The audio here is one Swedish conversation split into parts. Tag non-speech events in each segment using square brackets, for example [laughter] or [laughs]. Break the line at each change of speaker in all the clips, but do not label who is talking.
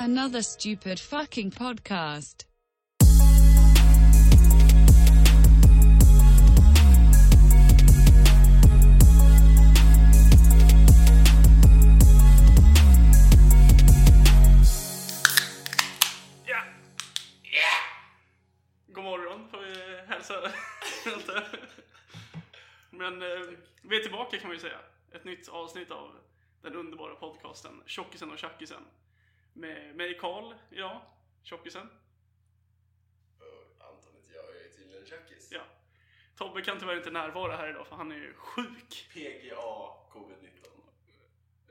Another stupid fucking podcast.
Ja! God morgon får vi hälsa. [laughs] Vänta. Men eh, vi är tillbaka kan man ju säga. Ett nytt avsnitt av den underbara podcasten Tjockisen och Tjackisen. Med mig Karl idag, Tjockisen.
Och Anton heter jag, jag är tydligen tjackis.
Ja. Tobbe kan tyvärr inte närvara här idag för han är ju sjuk.
PGA covid-19.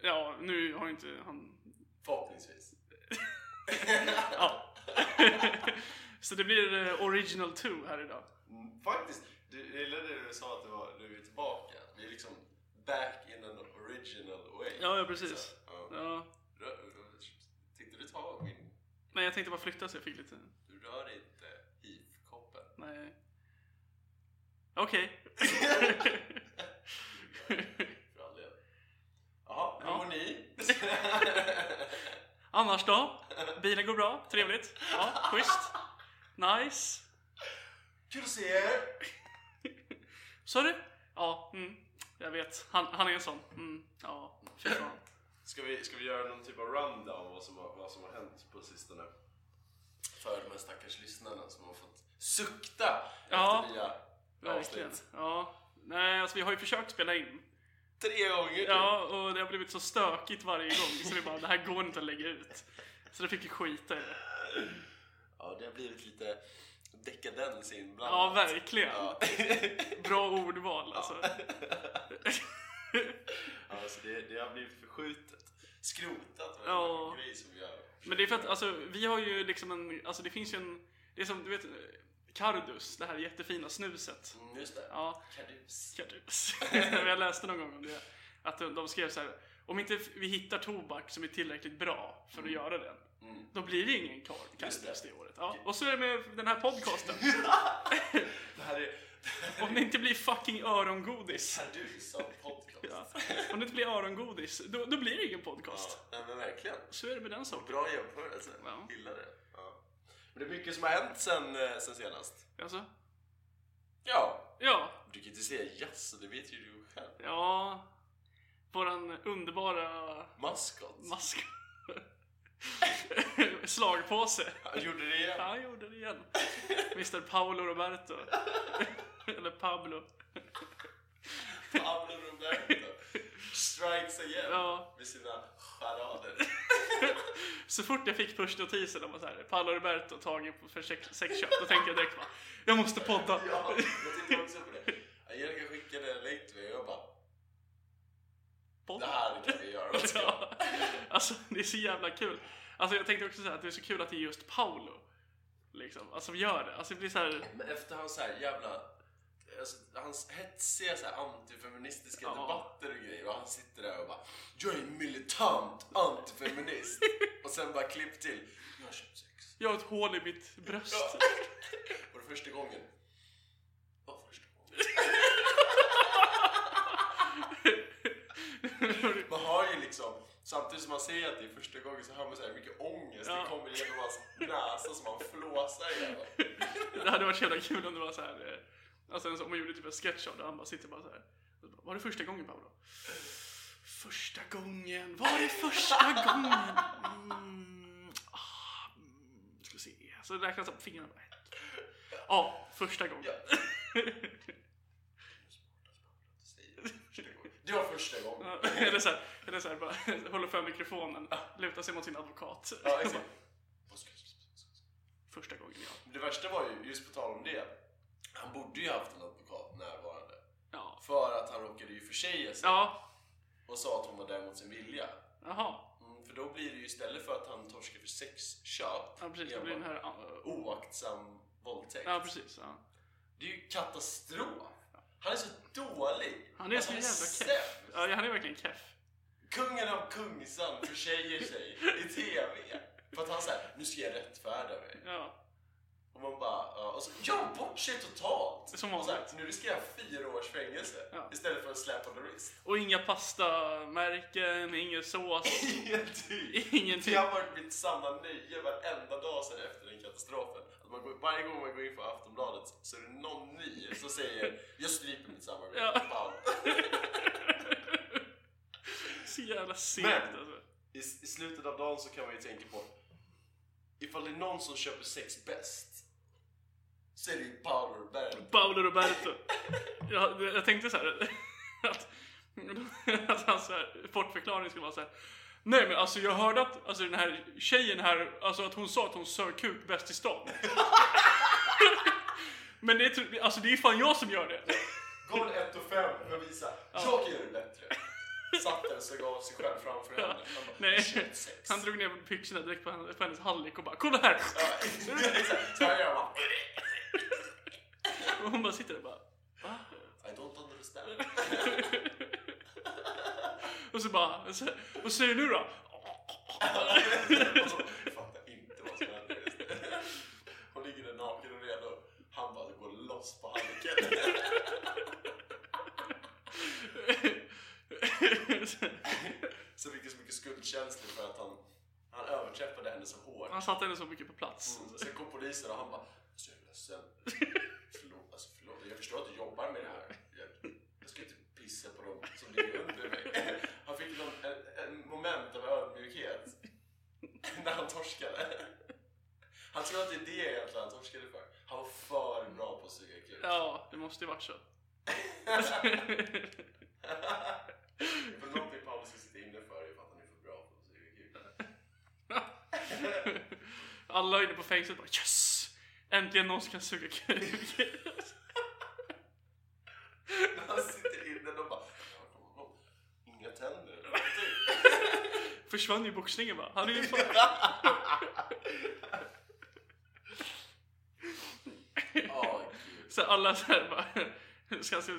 Ja, nu har ju inte han... [laughs]
Förhoppningsvis.
Ja. Så det blir eh, original 2 här idag.
Mm, Faktiskt, du jag gillade det du sa att det var, du är tillbaka. Vi är liksom back in an original way.
Ja, ja precis.
Så, ja.
Ja.
Rö- rö- Tänkte du ta min...
Nej, jag tänkte bara flytta så jag fick lite...
Du rör inte hiv-koppen.
Nej. Okej.
För all del. Jaha, hur
Ja.
mår ni? [laughs]
Annars då? Bilen går bra? Trevligt? Ja, schysst. Nice.
Kul att se er!
Så du? Ja, mm, jag vet. Han, han är en sån. Mm, ja, fy fan.
Ska vi, ska vi göra någon typ av rundown vad som, har, vad som har hänt på sistone? För de här stackars lyssnarna som har fått sukta
[clears throat] Ja,
efter nya
Verkligen.
avsnitt.
Ja. Nej, alltså vi har ju försökt spela in.
Tre gånger!
Ja, och det har blivit så stökigt varje gång så vi bara, det här går inte att lägga ut. Så det fick vi skita i det.
ja, det har blivit lite dekadens inblandat.
Ja, [laughs] verkligen.
Ja.
Bra ordval alltså.
alltså det, det har blivit förskjutet. Skrotat var
Ja.
en grej som vi har.
Men det är för att alltså, vi har ju liksom en, alltså det finns ju en, det är som du vet, Cardus, det här jättefina snuset.
Mm, just det.
Ja,
Kardus.
Cardus. [laughs] Jag läste någon gång om det. Att de de skrev så här, om inte vi hittar tobak som är tillräckligt bra för att göra den,
Mm.
då blir det ingen Card-
Just
Cardus
det.
det året. Ja, och så är det med den här
[laughs]
podcasten.
Det här är
Om det inte blir fucking örongodis.
Kardus av podcast.
Ja. Om det inte blir örongodis, då, då blir det ingen podcast.
Ja, men verkligen.
Så är det med den saken.
Bra jämförelse.
Ja.
Gillar det. Ja. Men det är mycket som har hänt sen, eh, sen senast.
Alltså,
Ja.
ja,
Du kan inte säga jazz, det vet ju du själv.
ja. Våran underbara
Maskot.
Mask. [laughs] Slagpåse.
Han gjorde det
[laughs]
igen.
Han gjorde det igen. Mr Paolo Roberto. Eller Pablo.
Pablo Roberto. Strikes again.
Ja.
Med sina charader.
Så fort jag fick push-notisen om att så här, Paolo Roberto tagen på- för sex- sexköp, då tänkte jag direkt bara Jag måste podda.
Ja, jag tänkte också på det. Angelica skickade en länk till mig och jag bara, det
podda.
här kan vi göra. Vad ska jag?
Ja. Alltså det är så jävla kul. Alltså jag tänkte också så här att det är så kul att det är just Paolo. Liksom, alltså vi gör det. Alltså det blir så här,
Men efter hans så här jävla, alltså, hans hetsiga så här antifeministiska
Ja.
debatter och grejer och han sitter där och bara Jag är militant
[laughs]
antifeminist och sen bara klipp till Jag har köpt sex.
jag har ett hål i mitt bröst.
Och det första gången, var första gången.
[laughs]
Man har ju liksom, samtidigt som man ser att det är första gången så har man så här mycket ångest.
Ja.
Det kommer genom hans näsa som han flåsar
[laughs]
igenom.
Det hade varit så jävla kul om det var så här. eh, Alltså en sån- om man gjorde typ en sketch av det han bara sitter bara så här. Och bara, Var det första gången Paolo? Första gången, var det första gången? Mm, ah, mm, ska se. Så räknas han på fingrarna. bara, ett, två. Ja, första gången.
Ja. Det var första gången.
Ja, [laughs] Eller så här, eller så här bara, [laughs] håller för mikrofonen, lutar sig mot sin advokat. [laughs]
Ja, exakt. Vad ska jag-
Första gången ja.
Det värsta var ju, just på tal om det, han borde ju haft en advokat närvarande.
Ja,
För att han råkade ju försäga sig
ja.
och sa att hon var där mot sin vilja.
jaha.
Mm, för då blir det ju istället för att han torskar för sexköp,
Ja precis, det blir den här...
enbart oaktsam våldtäkt.
Ja precis. Ja.
Det är ju katastrof! Han är så dålig!
Han är så
Alltså,
jävla keff.
sämst.
Ja, han är verkligen keff.
Kungen av Kungsan försäger sig i TV. För att han säger nu ska jag rättfärda mig.
Ja.
Och man bara, ja, och så gör hon bort sig totalt.
Som
och så här,
vanligt.
nu riskerar jag fyra års fängelse
Ja.
istället för att slap on the wrist.
Och inga pastamärken, ingen sås, [laughs]
Ingenting.
ingenting.
Det har varit mitt sanna nöje varenda dag sedan efter den katastrofen. Att man går, varje gång man går in på Aftonbladet så är det någon ny som säger jag stryper mitt samarbete
Ja.
med Paolo.
Så jävla segt
Men-
alltså.
I, I slutet av dagen så kan man ju tänka på ifall det är någon som köper sex bäst så är det ju Paolo Roberto.
Paolo Roberto. Jag, jag tänkte så här [laughs] att, att hans så här bortförklaring skulle vara så här. Nej men alltså jag hörde att alltså, den här tjejen här, alltså att hon sa att hon sög kuk bäst i stan. [laughs] men det är, tro- alltså, det är fan jag som gör det.
Går 1 och 5 för att visa jag kan göra det bättre. Satt den så gav sig själv framför henne. Han bara,
Nej.
"Köp sex."
Han drog ner byxorna direkt på hennes, på hennes hallick och bara kolla här.
Ja, exakt. [laughs] Så här gör man.
Och hon bara sitter där och bara.
I don't understand.
Och så bara, så, vad säger du då?
Jag fattar inte vad som händer just nu. Hon ligger där naken och redo. Han bara går loss på handduken. Så fick jag så mycket skuldkänslor för att han, han överträffade henne så hårt.
[laughs] Han satte henne så mycket på plats.
Mm. Sen kom polisen och han bara Så jag är ledsen. Förlåt, alltså förlåt. Jag förstår att du jobbar med det här. Jag, jag ska inte pissa på dem som ligger under mig. Han fick någon, en, en moment av ödmjukhet när han torskade. Han tror att det är det egentligen han torskade för. Han var för bra på att suga kuk.
Ja, det måste ju varit så.
Det var någonting Paolo ska sitta inne för ifall han är för bra på att suga kuk.
Alla inne på fängelset bara yes! Äntligen någon som kan suga kuk.
När han sitter inne de bara "Jag har honom. Inga tänder. eller någonting."
Försvann ju boxningen bara. Han är ju fan...
Ja, gud.
Så alla så här bara... [laughs] Ska, ska,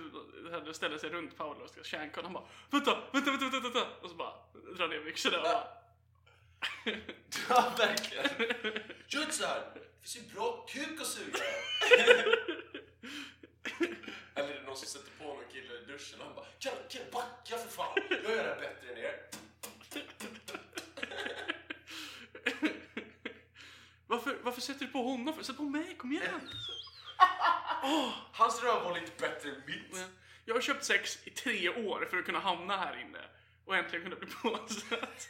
här, ställer sig runt Paolo och ska kärnkolla. Han bara vänta, vänta, vänta, vänta, vänta. Och så bara drar ner byxorna och bara... [laughs]
Ja, verkligen. Gör inte så här. Det finns ju bra kuk att suga. Eller är det någon som sätter på någon kille i duschen och han bara kan, kan du backa för fan? Jag gör det här bättre än er.
Varför, varför sätter du på honom? för? Sätt på mig, kom igen!
Hans rövhål är inte bättre än mitt.
Jag har köpt sex i tre år för att kunna hamna här inne och äntligen kunna bli påsatt.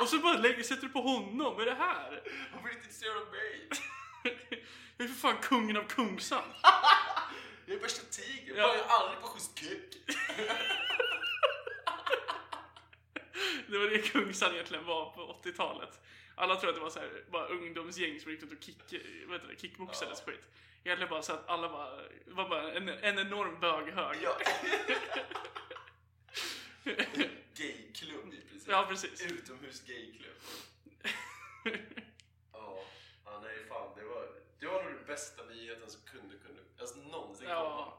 Och så bara lägger, sätter du på honom, vad är det här?
Varför är du inte intresserad av mig?
Jag är för fan kungen av Kungsan.
Jag är värsta tigern.
Ja.
Jag är aldrig på schysst kuk.
Det var det Kungsan egentligen var på 80-talet. Alla tror att det var så här, bara ungdomsgäng som gick runt och kick, vad heter det, kickboxades och skit. Egentligen bara så att alla bara, det var bara en, en enorm böghög. [laughs]
Ja. Gayklubb i princip.
Ja, precis.
Utomhus gayklubb. Ja, ja, nej fan. Det var, det var nog den bästa nyheten som kunde, kunde alltså, någonsin komma.
Ja.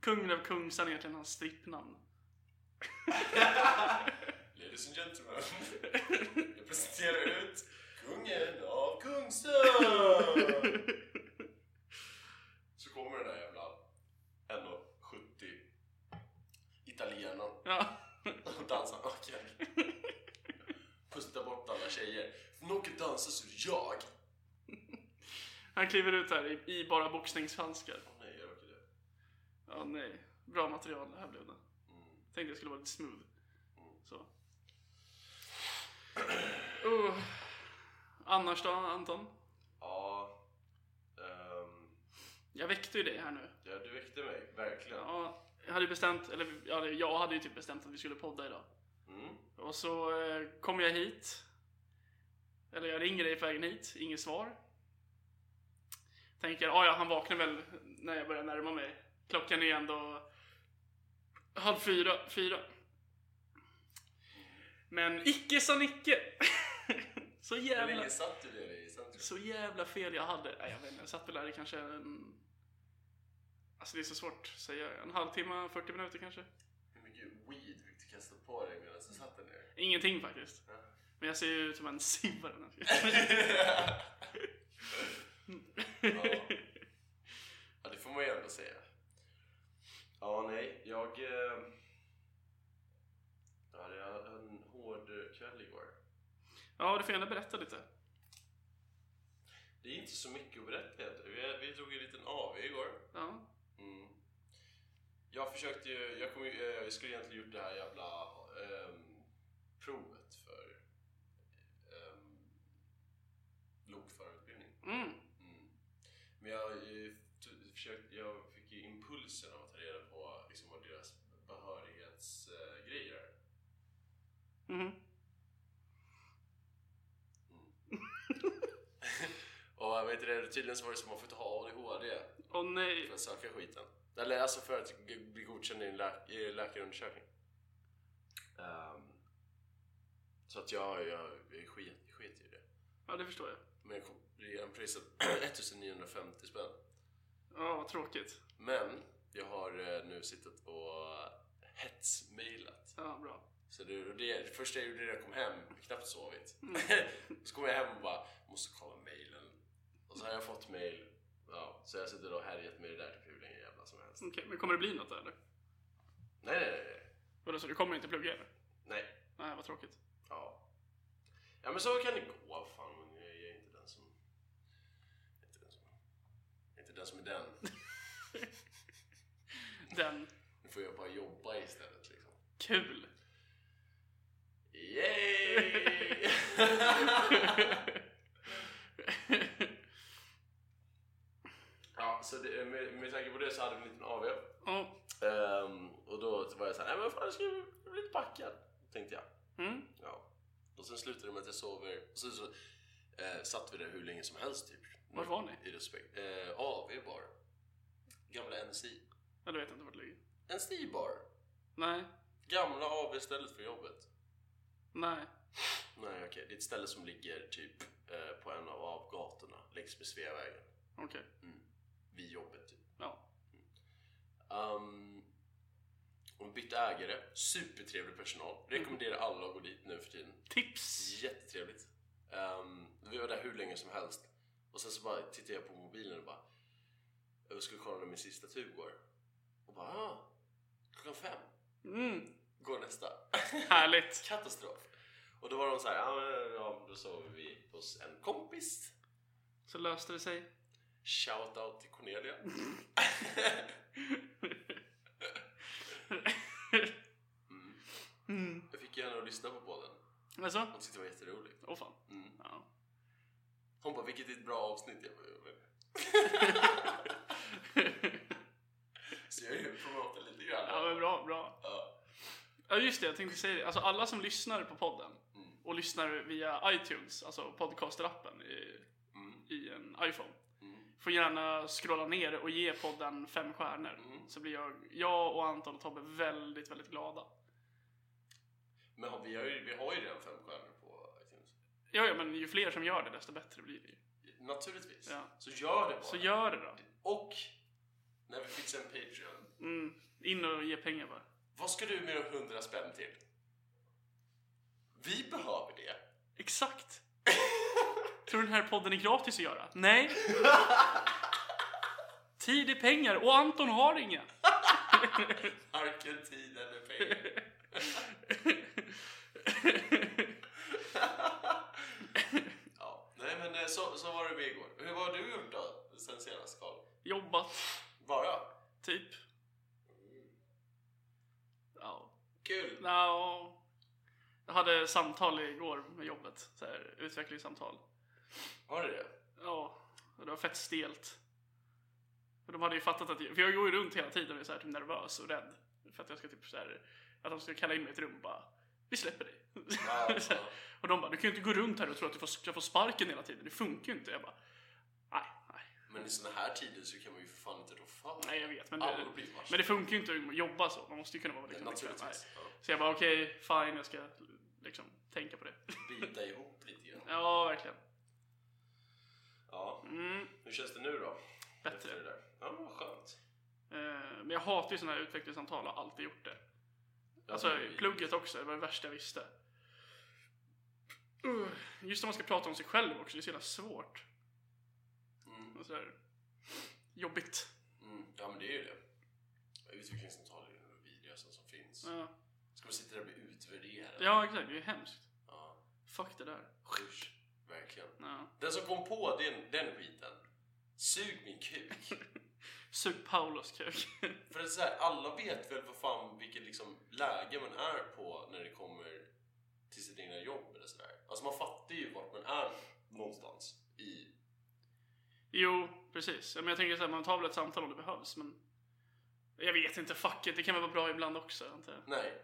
Kungen av Kungsan är egentligen hans strippnamn.
Ladies and gentlemen. Jag presenterar ut kungen av Kungstön. Så kommer den där jävla 1,70 italienaren
Ja.
och dansar
[laughs]
naken. Pustar bort alla tjejer. Om någon kan dansa så är det jag.
Han kliver ut här i, i bara boxningshandskar.
Åh nej, jag orkar det.
Ja, nej. Bra material det här blev det.
Mm.
Tänkte jag skulle vara lite smooth. Så. Uh. Annars då, Anton?
Ja, ehm,
Jag väckte ju dig här nu.
ja, du väckte mig. Verkligen.
Ja, jag hade ju bestämt, eller ja, jag hade ju typ bestämt att vi skulle podda idag.
Mm.
Och så eh, kom jag hit. Eller jag ringer dig på vägen hit, inget svar. Tänker, "Ah, ja han vaknar väl när jag börjar närma mig. Klockan är ändå halv fyra, fyra. Men icke sa Nicke! [laughs] så
Hur
jävla...
länge satt du där i centrum?
Så jävla fel jag hade. Nej, jag vet inte, jag satt väl där i kanske en... Alltså det är så svårt att säga. En halvtimme, 40 minuter kanske.
Hur mycket weed fick du kasta på dig medan du satt
[laughs]
där nere?
Ingenting faktiskt. Men jag ser ju ut som en simmare.
Ja. ja, det får man ju ändå säga. Ja, nej, jag... eh, Ja, det var en hård kväll igår.
Ja, du får gärna berätta lite.
Det är inte så mycket att berätta egentligen. Vi, vi drog en liten AV igår.
Ja.
Mm. Jag försökte ju, jag, kom, ju- eh, jag skulle egentligen gjort det här jävla ehm, provet för um, lokförarutbildning.
Mm.
Mm. Men jag, eh, t- försökte, jag fick ju impulsen av att ta reda på liksom, vad deras behörighetsgrejer [laughs] är.
Mhm.
Och jag vet inte, det, tydligen så var det som att man får inte ha ADHD
Åh nej.
för att söka skiten. Eller alltså för att g- bli godkänd i en lä- i en läkarundersökning. Ehm, så att jag, jag, jag sket, sket i det.
Ja, det förstår jag.
Men jag kom, redan priset [clears throat] 1950 spänn.
Ja, vad tråkigt.
Men jag har eh, nu suttit och hetsmailat
Ja, bra.
Så det, och det första jag gjorde när jag kom hem, knappt sovit.
Mm.
[laughs] så kom jag hem och bara, måste kolla mailen. Och så har jag fått mail. Ja, så jag sitter då och härjat med det där typ hur länge jävla som helst.
Okej, men kommer det bli något där eller?
Nej, nej, nej, nej.
Vadå, så du kommer inte plugga eller?
Nej.
Nej, vad tråkigt. [laughs]
Ja. Ja men så kan det gå. Vad Fan, men jag är inte den som... jag är Inte den som, jag är inte den som är den.
Den.
Nu får jag bara jobba istället liksom.
Kul. [laughs]
Yay! ja, så det, med, med tanke på det så hade vi en liten AW.
Ja.
Ehm, och då var jag såhär, nej men fan jag ska jag bli lite packad. Tänkte jag.
Mm.
Ja. Och sen slutade det med att jag sover. Och sen så eh, satt vi där hur länge som helst typ.
Var var ni?
I respekt. Eh, AW bar. Gamla NSI.
Eller vet inte vart det ligger.
NSI bar.
Nej.
Gamla AW stället för jobbet.
Nej.
Nej, okej. Det är ett ställe som ligger typ eh, på en av avgatorna längs med Sveavägen.
Okej.
Vid jobbet typ.
Ja.
Um, hon bytte ägare. Supertrevlig personal. Rekommenderar alla att gå dit nu för tiden.
Tips.
Jättetrevligt. Ehm, vi var där hur länge som helst. Och sen så bara tittade jag på mobilen och bara... Jag skulle kolla när min sista tur går. Och bara... Ah, klockan fem
Mm.
går nästa. [laughs]
Härligt.
Katastrof. Och då var de så här... "Ja, men, Ja, då sover vi hos en kompis.
Så löste det sig.
Shout out till Cornelia. Mm.
Mm.
Jag fick gärna att lyssna på podden.
Alltså?
Hon tyckte det var jätteroligt.
Åh fan.
Mm.
Ja. [laughs]
Hon bara, vilket är ett bra avsnitt. Jag bara, "Ja, men." Så jag promotade lite grann.
ja men bra, bra.
Ja.
Ja just det, jag tänkte säga det. Alltså alla som lyssnar på podden
Mm.
och lyssnar via iTunes, alltså podcastrappen i,
Mm.
i en iPhone.
Mm.
Får gärna scrolla ner och ge podden fem stjärnor.
Mm.
Så blir jag, jag och Anton och Tobbe väldigt, väldigt glada.
Men har- vi har, ju, vi har ju redan fem stjärnor på iTunes.
Ja, ja, men ju fler som gör det desto bättre blir det ju.
Naturligtvis.
Ja.
Så gör det bara.
Så gör det då.
Och när vi fixar en Patreon.
Mm. In och ge pengar bara.
Vad ska du med de hundra spänn till? Vi behöver det. [laughs]
Exakt! Tror du den här podden är gratis att göra?
[laughs]
Nej! Tid är pengar och Anton har inga.
Varken tid eller
[laughs]
pengar. ja. Nej men eh, så, så var det med igår. Hur vad har du gjort då sen senast Karl?
[laughs] Jobbat,
Bara?
typ. Ja.
Kul!
No. Jag hade samtal igår med jobbet. Så här, utvecklingssamtal.
Har du det?
Ja, och det var fett stelt. För de hade ju fattat att, jag- för jag går ju runt hela tiden och är så här typ nervös och rädd. För att jag ska typ så här, att de ska kalla in mig i ett rum och bara, vi släpper dig. [laughs]
Ja,
Så
ja.
här. och de bara, du kan ju inte gå runt här och tro att du får, jag får sparken hela tiden, det funkar ju inte. Jag bara, nej, nej,
Men i såna här tider så kan man ju för fan inte rå för.
nej jag vet. Men det,
Alla blir varse.
men det funkar ju inte att jobba så, man måste ju kunna vara liksom, bekväm. Nej.
Naturligtvis. Ja.
Så jag bara, okej, fine, jag ska liksom tänka på det. [laughs]
Bita ihop lite grann.
Ja, verkligen.
Ja.
Mm,
Hur känns det nu då? Efter det
bättre.
där? Ja, vad skönt.
Eh, Men jag hatar ju sådana här utvecklingssamtal och har alltid gjort det.
Ja,
Alltså
men vi-
plugget också, det var det värsta jag visste. Uh, Just när man ska prata om sig själv också, det är så jävla svårt.
Mm.
och sådär jobbigt.
Mm, ja men det är ju det. Utvecklingssamtal är ju det vidrigaste som finns.
Ja,
Ska man sitta där och bli utvärderad?
ja exakt, det är hemskt.
ja.
Fuck det där.
Usch, verkligen.
Ja.
Den som kom på den, den skiten, sug min kuk.
Sug Paulos kuk. [laughs]
För det är så här, alla vet väl vad fan vilket liksom läge man är på när det kommer till sitt egna jobb eller sådär. Alltså man fattar ju vart man är någonstans i...
jo, precis. Ja, Men jag tänker såhär, man tar väl ett samtal om det behövs men... Jag vet inte, fuck it. Det kan väl vara bra ibland också, antar jag.
Nej.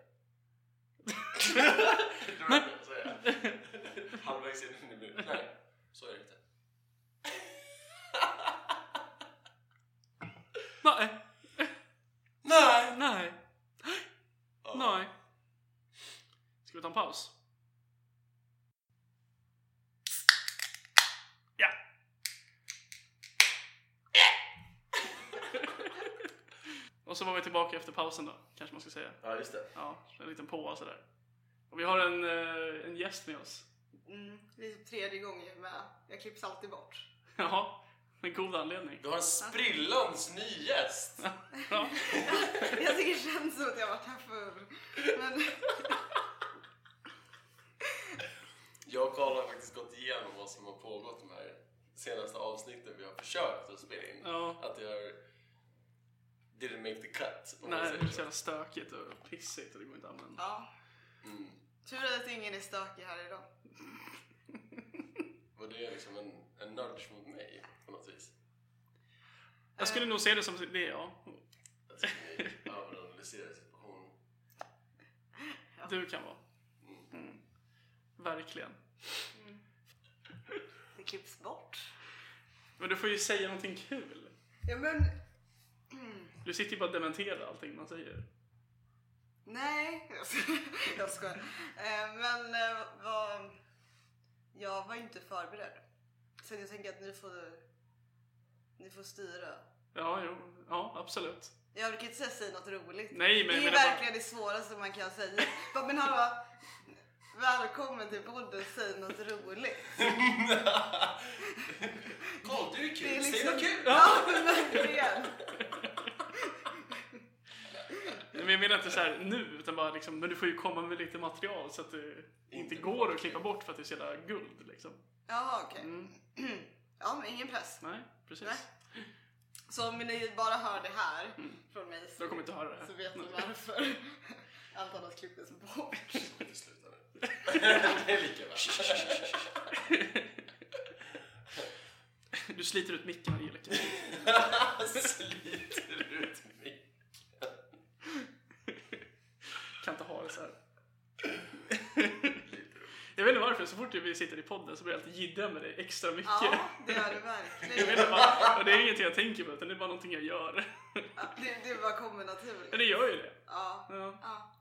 det var det jag säga. Halvvägs in i minuten. Nej, så är det inte.
Nej,
Nej!
nej,
Ja.
nej. Ska vi ta en paus? Ja. [laughs] Och så var vi tillbaka efter pausen då, kanske man ska säga.
Ja, just det.
Ja, en liten påa sådär. Och vi har en, eh, en gäst med oss. [laughs]
Mm, det är tredje gången med. Jag klipps alltid bort.
Ja, med god anledning.
Vi har en sprillans ny gäst!
Ja.
Jag tycker det känns som att jag har varit här förr. Men
Jag och Karl har faktiskt gått igenom vad som har pågått de här senaste avsnitten vi har försökt att spela in.
ja.
Att jag didn't make the cut. om man
Nej,
säger
det är så
så.
jävla stökigt och pissigt och det går inte att använda.
ja,
Mm.
tur att ingen är stökig här idag.
Var det liksom en, en nudge mot mig på något vis?
Jag skulle nog se det som det, ja.
Att
[laughs]
jag överanalyserar situationen.
Du kan vara.
Mm.
Mm. Verkligen.
Det klipps bort.
Men du får ju säga någonting kul.
Ja men,
Du sitter ju bara och dementerar allting man säger.
nej. [laughs] Jag skojar. Eh, Men eh, vad, jag var inte förberedd. Så jag tänker att ni får, ni får styra.
Ja, jo. Ja, absolut.
Jag brukar inte säga säg något roligt.
Nej, men-
det är
men det
verkligen det svåraste man kan säga. [laughs] Bara, Men hallå, välkommen till podden Säg något roligt.
Karl, du är liksom- kul!
Det är liksom-
Säg något kul!
Ja, men verkligen.
Men jag menar inte så här nu, utan bara liksom, men du får ju komma med lite material så att det inte
Inte
går att klippa bort för att det är så jävla guld liksom.
Jaha, okej.
Mm.
[clears throat] Ja, men ingen press.
Nej, precis.
Nej. Så om ni bara hör det här från mig så,
Jag Mm. kommer inte höra det här.
så vet ni varför [laughs] allt annat klipptes bort.
Jag vill sluta nu. [laughs] det är lika bra.
Du sliter ut micken Angelica.
[laughs] Sliter ut mig.
Kan inte ha det så här. Jag vet inte varför, så fort vi sitter i podden så blir jag alltid jiddra med dig extra mycket.
Ja, det gör det
Jag vet
verkligen.
inte varför. Och det är ingenting jag tänker på, utan det är bara någonting jag gör.
Ja, Det, det bara kommer
Men det
naturligt.
gör ju det.
Ja.
Ja.
Ja.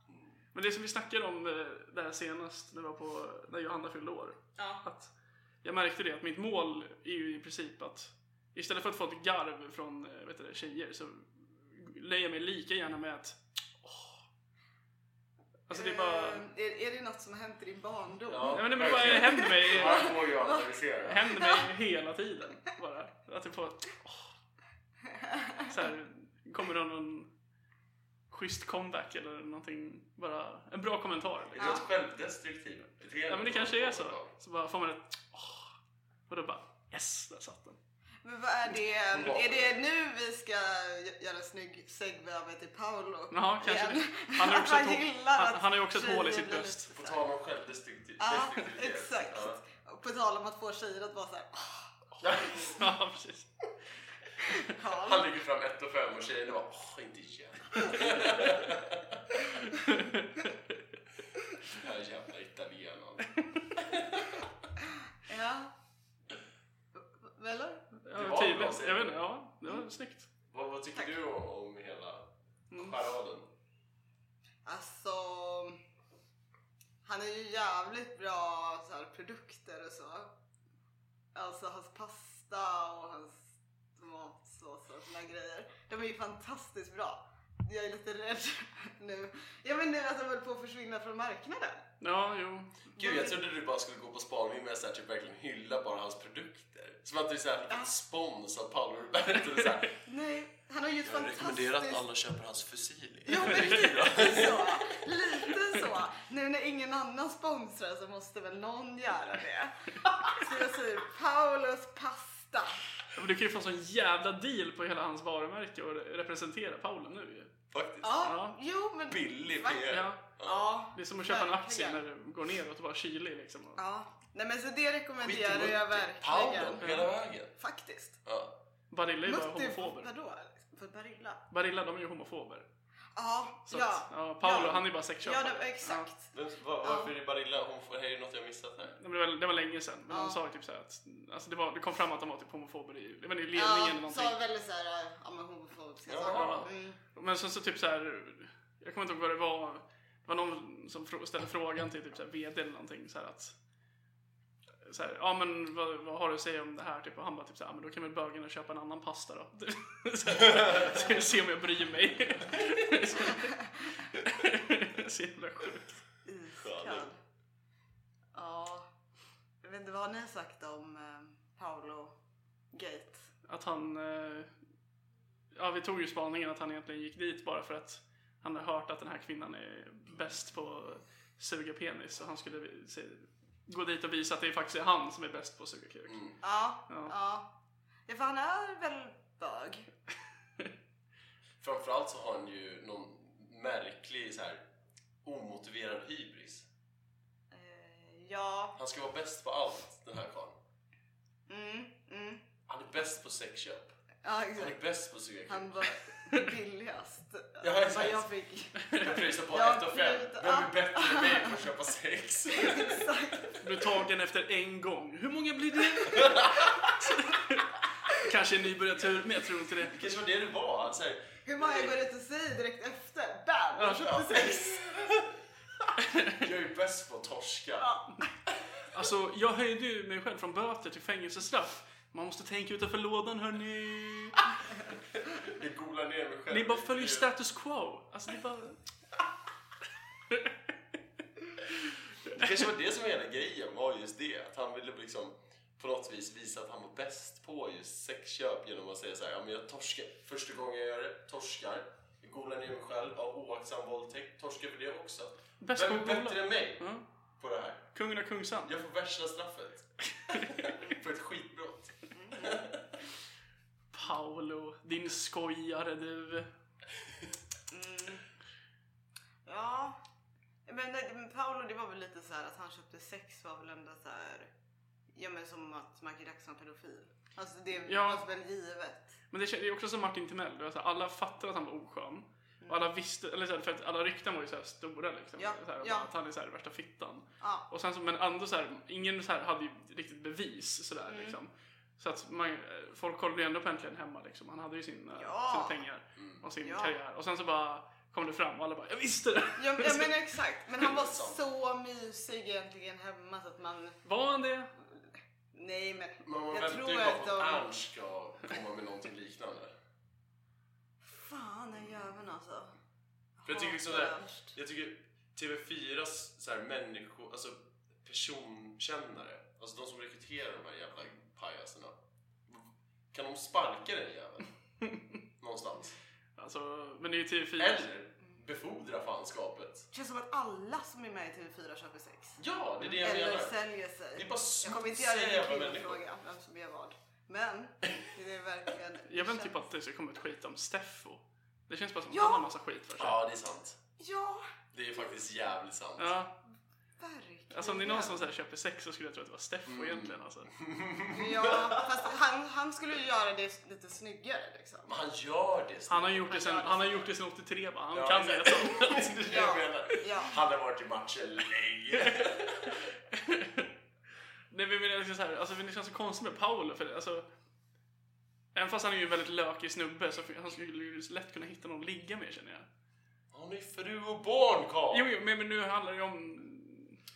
Men det som vi snackade om eh, det här senast, när, vi var på, när Johanna fyllde år.
Ja.
Att jag märkte det, att mitt mål är ju i princip att istället för att få ett garv från eh, vet du, det, tjejer så lägger jag mig lika gärna med att åh. Alltså det är bara...
Eh, är, är det något som har hänt i din barndom?
Ja.
Nej men det bara det händer mig,
Här får jag analysera.
det händer mig hela tiden bara. Att jag får... åh. Så här, kommer det någon schysst comeback eller någonting, bara en bra kommentar
Det
liksom.
är ett självdestruktivt beteende.
Ja men det kanske är så. Så bara får man ett åh. Och då bara yes, där satt den.
Men vad är det?
Ja.
Är det nu vi ska gö- göra en snygg segway över till Paolo?
Jaha, kanske
igen?
det. Han har också
Han
ett hå-
gillar
han-
att
han har ju också ett
tjejer
hål i sitt
blir
bröst. [laughs]
lite
På
så här-
tal om självdestruktivitet.
Ja,
destruktivitet.
exakt.
Ja.
Och På tal om att få tjejer att vara "Ah, såhär,
[laughs]
Ja precis.
Karl.
Han lägger fram ett och fem och tjejerna bara åh, inte igen. Den här jävla italienaren.
Ja. Eller?
var
Ja,
bra
tydligt.
säger
Jag vet
du.
inte, ja. Det
Mm.
var snyggt.
Vad, vad tycker
Tack. Mm.
du om, om hela charaden?
Alltså, han är ju jävligt bra så här, produkter och så. Alltså hans pasta och hans tomatsås och såna grejer. De är ju fantastiskt bra. Jag är lite rädd [laughs] nu. Ja men men nu att de höll på att försvinna från marknaden.
Ja, jo.
Gud,
Mm.
jag trodde du bara skulle gå på spaning med att typ verkligen hylla bara hans produkter. Som att du så här, fick spons av Paolo Roberto. och Så här,
Nej, han har ju ett
jag rekommenderar att
fantastiskt...
alla köper hans Fusili.
Ja, men lite så. Lite så. Nu när ingen annan sponsrar så måste väl någon göra det. Så jag säger Paulus pasta.
Ja, men Du kan ju få sån jävla deal på hela hans varumärke och representera Paolo nu ju.
Faktiskt.
Ja,
Ja.
jo men...
Billig
Va?
PR.
Ja.
Ja,
Det är som att köpa en aktie när
verkligen.
det går neråt och bara kylig liksom. Och-
Ja, nej men så det rekommenderar
Mutti.
jag verkligen.
Paolo, hela vägen.
Faktiskt.
Ja.
Barilla är ju bara
Mutti,
homofober.
vadå? För Barilla?
Barilla, de är ju homofober.
Ja,
Så
ja.
att, ja, Paolo,
Ja.
han är ju bara
Ja,
sexköpare.
det, exakt.
Men va- Varför är Barilla homofob? Är det något jag missat här?
Ja, men Det var, det var länge sedan, men
Ja.
han sa typ såhär att alltså det, var, det kom fram att de var typ homofober i, det var i ledningen
Ja,
eller någonting.
sa väldigt såhär, ja men homofobiska
Ja.
saker. Mm.
Men sen så typ så här, jag kommer inte ihåg vad det var. Det var någon som frå- ställde frågan till typ så här VD eller någonting så här att så här, ja men vad, vad har du att säga om det här? Typ, och han bara typ så här, "Ja, men då kan väl bögarna köpa en annan pasta då. så här, så jag ser om jag bryr mig. så jävla sjukt.
Iskall. Ja. Jag vet inte vad ni har sagt om eh, Paolo Gate.
Att han, eh, ja vi tog ju spaningen att han egentligen gick dit bara för att han har hört att den här kvinnan är bäst på att suga penis och han skulle vi- se, gå dit och visa att det faktiskt är han som är bäst på att suga kuk.
Ja, ja.
Ja.
Ja, för han är väl bög.
Framförallt så har han ju någon märklig så här omotiverad hybris.
Eh, ja.
Han ska vara bäst på allt, den här karln.
Mm, mm.
Han är bäst på sexköp.
Ja,
Han
exakt.
är bäst på suga kuk.
Han var billigast.
Ja,
Vad
exakt.
jag fick. [laughs]
Jag pröjsar på
Ja,
1 och 5.
gud,
Vem
ja.
är bättre än mig på att köpa sex? [laughs]
exakt.
Blir tagen efter en gång. Hur många blir det? Kanske en nybörjartur, men jag tror inte det.
Det kanske var det det var. Han säger,
Hur många går ut och säger direkt efter? Bam!
Ja,
ja.
76!
jag är ju bäst på att torska.
Alltså, jag höjde ju mig själv från böter till fängelsestraff. Man måste tänka utanför lådan hörni.
Jag golar ner mig själv.
Ni bara följer status quo. Alltså, det är bara...
Det kanske var det som var hela grejen, var just det. Att han ville liksom på något vis visa att han var bäst på just sexköp genom att säga så här, ja men jag torskar. Första gången jag gör det, torskar. Jag golar ner mig själv av oaktsam våldtäkt. Torskar för det också.
Bäst
Vem
på
är
att gola.
bättre än mig
Ja.
på det här?
Kungen av Kungsan.
Jag får värsta straffet. [laughs] för ett skitbrott.
Paolo, din skojare du.
Mm. Ja. Men, det- men Paolo det var väl lite så här att han köpte sex var väl ändå så här. Ja men som att Michael Jackson är pedofil. Alltså det
Ja.
var väl givet.
Men det kän- det är också som Martin Timell. du vet, så här, Alla fattar att han var oskön. Och alla visste, eller så här, för att alla rykten var ju så här stora liksom.
Ja,
Så här,
ja.
Att han är så här värsta fittan.
Ja.
Och sen så, men ändå så här, ingen så här hade ju riktigt bevis sådär
Mm.
liksom. Så att man, eh, folk kollade ju ändå på Äntligen Hemma liksom. Han hade ju sina,
Ja.
sina pengar och sin
Ja.
karriär. Och sen så bara kom det fram och alla bara, jag visste det!
Ja,
[laughs]
ja men exakt. Men han var
Sant.
så mysig egentligen hemma så att man.
Var han det?
Nej men.
Men man
jag
väntar ju
tror
bara
att
på att
de.
Ernst ska komma med någonting liknande.
Fan den jäveln alltså.
För jag tycker liksom
Hatar
det här,
Ernst.
jag tycker TV4s så här människo, alltså personkännare, alltså de som rekryterar de här jävla pajaserna. Kan de sparka den
[laughs]
jäveln? Någonstans.
Alltså, men det är ju TV4.
Eller befordra fanskapet.
Det känns som att alla som är med i TV4 köper sex.
Ja, det är det jag
Eller
menar.
säljer sig.
Det är bara så
Jag kommer inte göra det
jävla
till en
människor.
kvinnofråga, vem som gör vad. Men det
[laughs]
är verkligen...
Jag vet typ att det ska komma ett skit om Steffo. Det känns bara som att
Ja.
han har massa skit för sig.
Ja, det är sant.
Ja,
Det är faktiskt jävligt sant.
Ja,
verkligen.
alltså om det är någon som så här köper sex så skulle jag tro att det var Steffo
Mm.
egentligen alltså.
Ja, fast han, han skulle ju göra det lite snyggare liksom.
Men han gör det.
Han har gjort det sen,
Han gör det
han har
så.
gjort det sen 83 bara. Han
Ja,
kan det.
exakt.
Alltså.
[laughs] Det är det
Ja.
jag menar.
Ja.
Han har varit i matchen länge.
Nej men jag menar liksom så här, alltså, men det känns så konstigt med Paolo för det, alltså, Även fast han är ju en väldigt lökig snubbe så han skulle ju lätt kunna hitta någon att ligga med känner jag.
Han är fru och barn, Karl.
Jo, jo men, men nu handlar det ju om...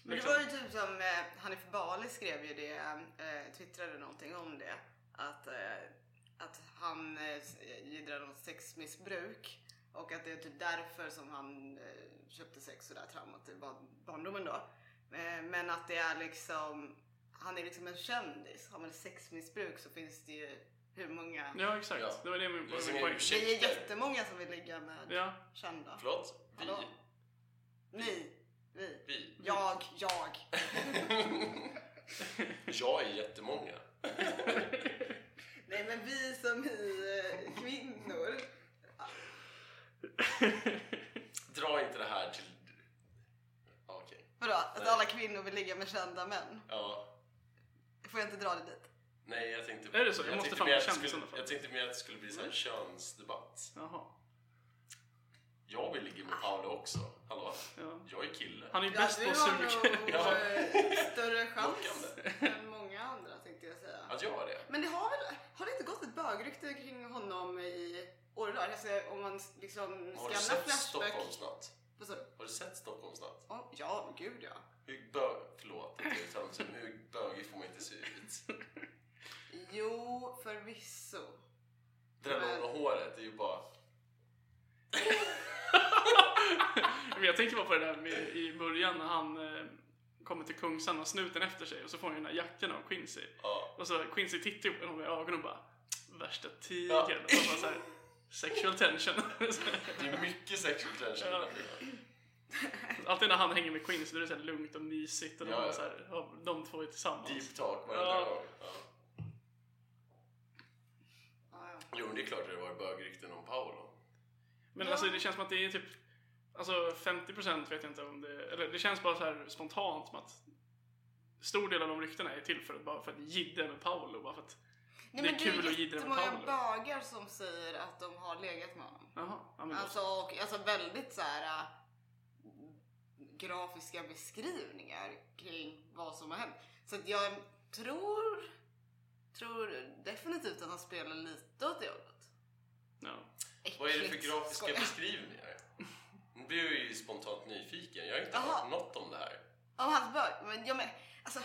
liksom.
Men det var ju typ som eh, Hanif Bali skrev ju det, eh, twittrade någonting om det. Att, eh, att han eh, jiddrar om sexmissbruk och att det är typ därför som han eh, köpte sex och där traumat i bar- barndomen då. Eh, Men att det är liksom, han är liksom en kändis. Har man sexmissbruk så finns det ju hur många?
Ja, exakt.
Ja.
Det var det min,
Det är
min poäng.
ursäkt.
Vi är jättemånga som vill ligga med
Ja, [laughs]
kända.
Förlåt? Vi?
Hallå? Ni, vi,
Vi?
jag, jag.
Jag är jättemånga.
Nej men vi som i eh, kvinnor.
Dra inte det här till... Ja, Okej.
Vadå? Att
Nej.
alla kvinnor vill ligga med kända män?
Ja.
Får jag inte dra det dit?
Nej, jag tänkte...
Är det så? Jag måste
tänkte
fan
mer
bli
att det
kändis i
skulle-
alla fall. Mm.
Jag tänkte mer att det skulle bli så här könsdebatt.
jaha.
Jag vill ligga med Paolo också. Hallå?
Ja.
Jag är kille.
Han är ju
Ja,
bäst
du
på att
har
suga. [laughs]
nog
Ja.
eh, större chans
Lockande.
än många andra tänkte jag säga.
Att jag är det?
Men det har väl, har det inte gått ett bögrykte kring honom i år och dag? Alltså om man liksom
Har du
skannar
sett
Flashback.
Stockholmsnatt?
Vad sa du?
Har du sett Stockholmsnatt?
Åh, Ja, gud ja.
Hur bög... Förlåt att jag är tramsig, men hur bögig får man inte se ut?
[laughs]
Jo, förvisso.
Det där
Men-
långa håret är ju bara...
Men jag tänker bara på det där med, i början när han eh, kommer till Kungsan och snuten efter sig och så får han ju den där jackan av Quincy.
Ja.
Och så Quincy tittar ju på honom i ögonen och bara Värsta tigern. Och bara så här, sexual tension.
[laughs] Det är mycket sexual tension. i den här filmen.
Alltid när han hänger med Quincy då är det så här lugnt och mysigt och de,
Ja, ja.
Så här, ja, de två är tillsammans.
Deep talk varenda
Ja.
gång. Ja.
Ja, ja.
Jo, men det är klart att det var bögrykten om Paolo.
Men
Ja.
alltså det känns som att det är typ Alltså 50% vet jag inte om det Eller det känns bara så här spontant som att Stor del av de ryktena är till för att, bara för att jiddra med Paolo bara för att
Nej,
Det är
men
kul
det
att
är
jiddra med
jättemånga
Paolo.
bögar som säger att de har legat med honom.
Jaha, ja,
Mm.
men då så.
Alltså, och, alltså väldigt så här äh, grafiska beskrivningar kring vad som har hänt. Så att jag tror, tror definitivt att han spelar lite åt det hållet.
Ja.
Vad är det för
Äckligt.
grafiska
Skoja.
beskrivningar? Nu blir jag ju spontant nyfiken. Jag har inte
Aha.
hört något om det här.
Av hans bög. Men jag men, alltså,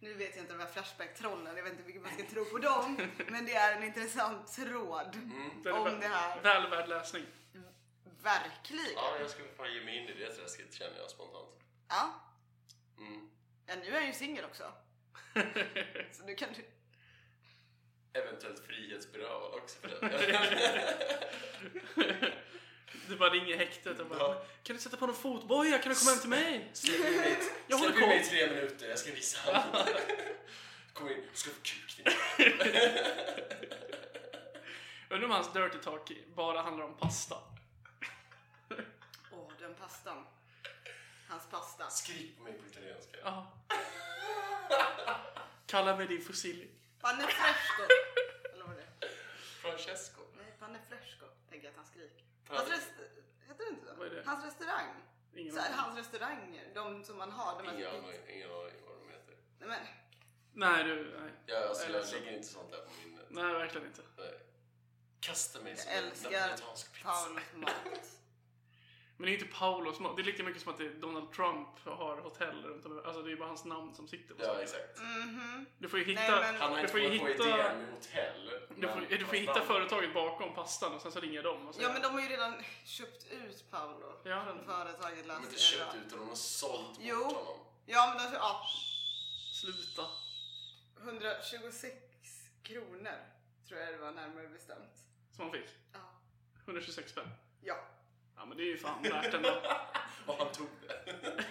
nu vet jag inte de här Flashback-trollen, jag vet inte vilken man ska tro på
[laughs]
dem. Men det är en intressant tråd.
Mm.
är
Om
väl-
det här.
Väl värd läsning.
Verkligen.
Ja, jag ska fan ge mig in i det träsket känner jag spontant.
Ja.
Mm.
ja, nu är jag ju
[laughs]
singel också. Så nu kan du...
Eventuellt frihetsberövad också för det.
Du bara ringer häktet och bara
Ja.
Kan du sätta på någon fotboja? Kan du komma hem till mig?
Släpp in mig i-
Jag håller
släpp in mig i
koll.
tre minuter, jag ska visa [laughs] honom. Kom in, ska få kukning.
Undrar om hans dirty talk bara handlar om pasta.
Åh, den pastan. Hans pasta.
Skrik på mig på italienska.
Ja. Kalla mig din fossil.
Panne fresco. Eller vad det är.
Francesco.
Nej, panne fresco. Tänker jag att han skriker.
Panne-
Hans rest... Heter det inte så?
Vad är det?
Hans restaurang.
Ingen
Så här,
aning.
hans restauranger. De som man har. De här...
Ingen aning ingen aning vad de heter.
Nej, men,
Nej du, nej.
Jag, alltså,
Eller
jag
så-
lägger inte sånt där på minnet.
Nej verkligen inte.
Nej. Kasta mig
jag
som en
älskar
napolitansk pizza.
Paulos mat.
Men det är inte Paolo som har- Det är lika mycket som att det är Donald Trump har hotell runt om i- Alltså det är bara hans namn som sitter på
Ja,
saker.
exakt.
Mhm.
Du får ju hitta...
Nej, men-
Han har
du
inte
får ju
kommit på
hitta...
idén med hotell.
Du får, du får hitta företaget bakom pastan och sen så ringer de och säger
Ja, men de har ju redan köpt ut Paolo.
Ja, den-
Företaget
De har inte
läste
köpt ut honom och sålt bort
Jo.
honom.
Ja, men alltså, de har ja,
Sluta.
126 kronor. Tror jag det var närmare bestämt.
Som han fick.
Ja.
126 spänn.
Ja.
Ja men det är ju fan värt ändå.
Och han tog det.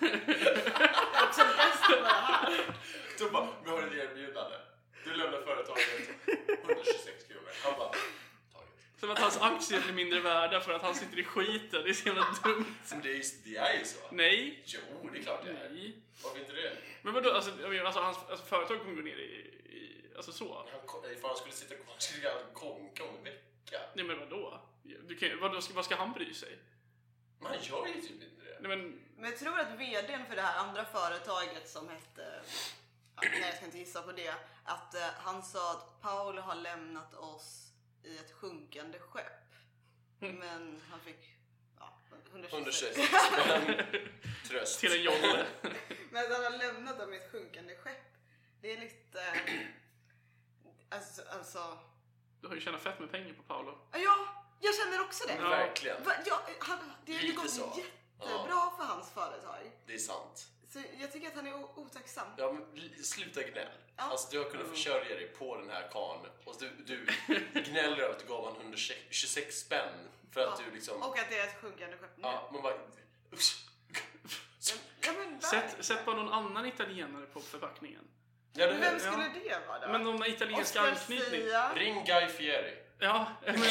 [laughs]
Också bäst på det här.
Då bara, vi har ett erbjudande. Du lämnar företaget. 126 kronor. Han bara, taget.
Som att hans aktier blir mindre värda för att han sitter i skiten. Det är så jävla dumt.
Men det är, ju- det är ju så.
Nej.
Jo, det är klart det är.
Nej.
Varför inte det?
Men vadå, alltså, jag menar, alltså, hans, alltså företag kommer gå ner i, i... Alltså så.
Han, ko- eh, ifall han skulle sitta kvar, han skulle han konka om en vecka.
Nej men vadå? Du kan, ju- vadå ska, vad ska han bry sig?
Men han gör ju typ inte det.
Nej men...
Men jag tror att vdn för det här andra företaget som hette... ja, Nej, jag ska inte gissa på det. Att eh, han sa att Paul har lämnat oss i ett sjunkande skepp.
Mm.
Men han fick ja, 126.
126 men
[laughs]
Tröst.
Till en jolle.
Men att han har lämnat dem i ett sjunkande skepp. Det är lite... eh, Alltså... alltså
Du har ju tjänat fett med pengar på Paolo.
ja, jag känner också det.
Ja.
[laughs] Verkligen.
Va, ja, han, det har ju
Lite
gått
så.
jättebra för hans företag.
Det är sant.
Så jag tycker att han är o- otacksam.
Ja, men l- sluta gnäll.
Ja.
Alltså, du har kunnat
Mm.
försörja dig på den här karln och du, du gnäller över att du gav honom 126 spänn för att
Ja.
du liksom...
Och att det är ett sjunkande skepp nu.
Ja, man bara...
Ja, ja, men verkligen.
Sätt, sätt bara någon annan italienare på förpackningen.
Ja, det
Vem
är...
skulle det vara då?
Men någon med italiensk
Oscar
anknytning.
Sia,
Ring Guy Fieri.
Ja, eller,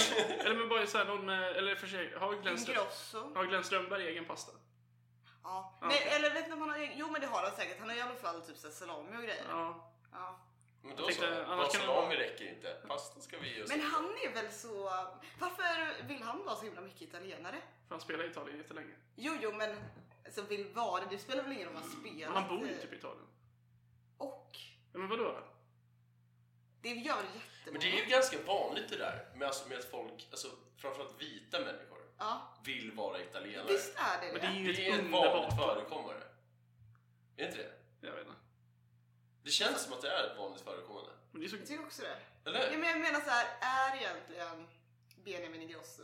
eller men bara så här, någon med, eller för sig, har Glenn, Ström,
Ingrosso.
har Glenn Strömberg egen pasta?
Ja.
Ja,
Nej,
okej.
eller vet ni om han har egen- Jo men det har han säkert. Han har i alla fall typ så här salami och grejer.
Ja.
Ja.
Men då
Jag tänkte,
så,
annars kan det
salami
vara-
räcker inte. Pasta ska vi ge oss
Men
in på.
han är väl så... Varför vill han vara så himla mycket italienare?
För han spelar i Italien jättelänge.
Jo, jo, men alltså, vill vara det. Det spelar väl ingen roll vad han spelar.
Men han bor ju typ i Italien.
Och
Ja, men vadå?
det gör
Men
jättemånga.
det är ju ganska vanligt det där med, alltså, med att folk, alltså, framförallt vita människor,
Ja,
vill vara italienare.
visst är det
Men det
det.
är ju
Det är
ett
ett vanligt
underbart...
förekommande. Är inte det?
Jag vet inte.
Det känns som att det är ett vanligt förekommande.
Men det är så...
Jag tycker också det.
Eller
Ja,
hur?
men jag menar så här, är egentligen Benjamin Ingrosso...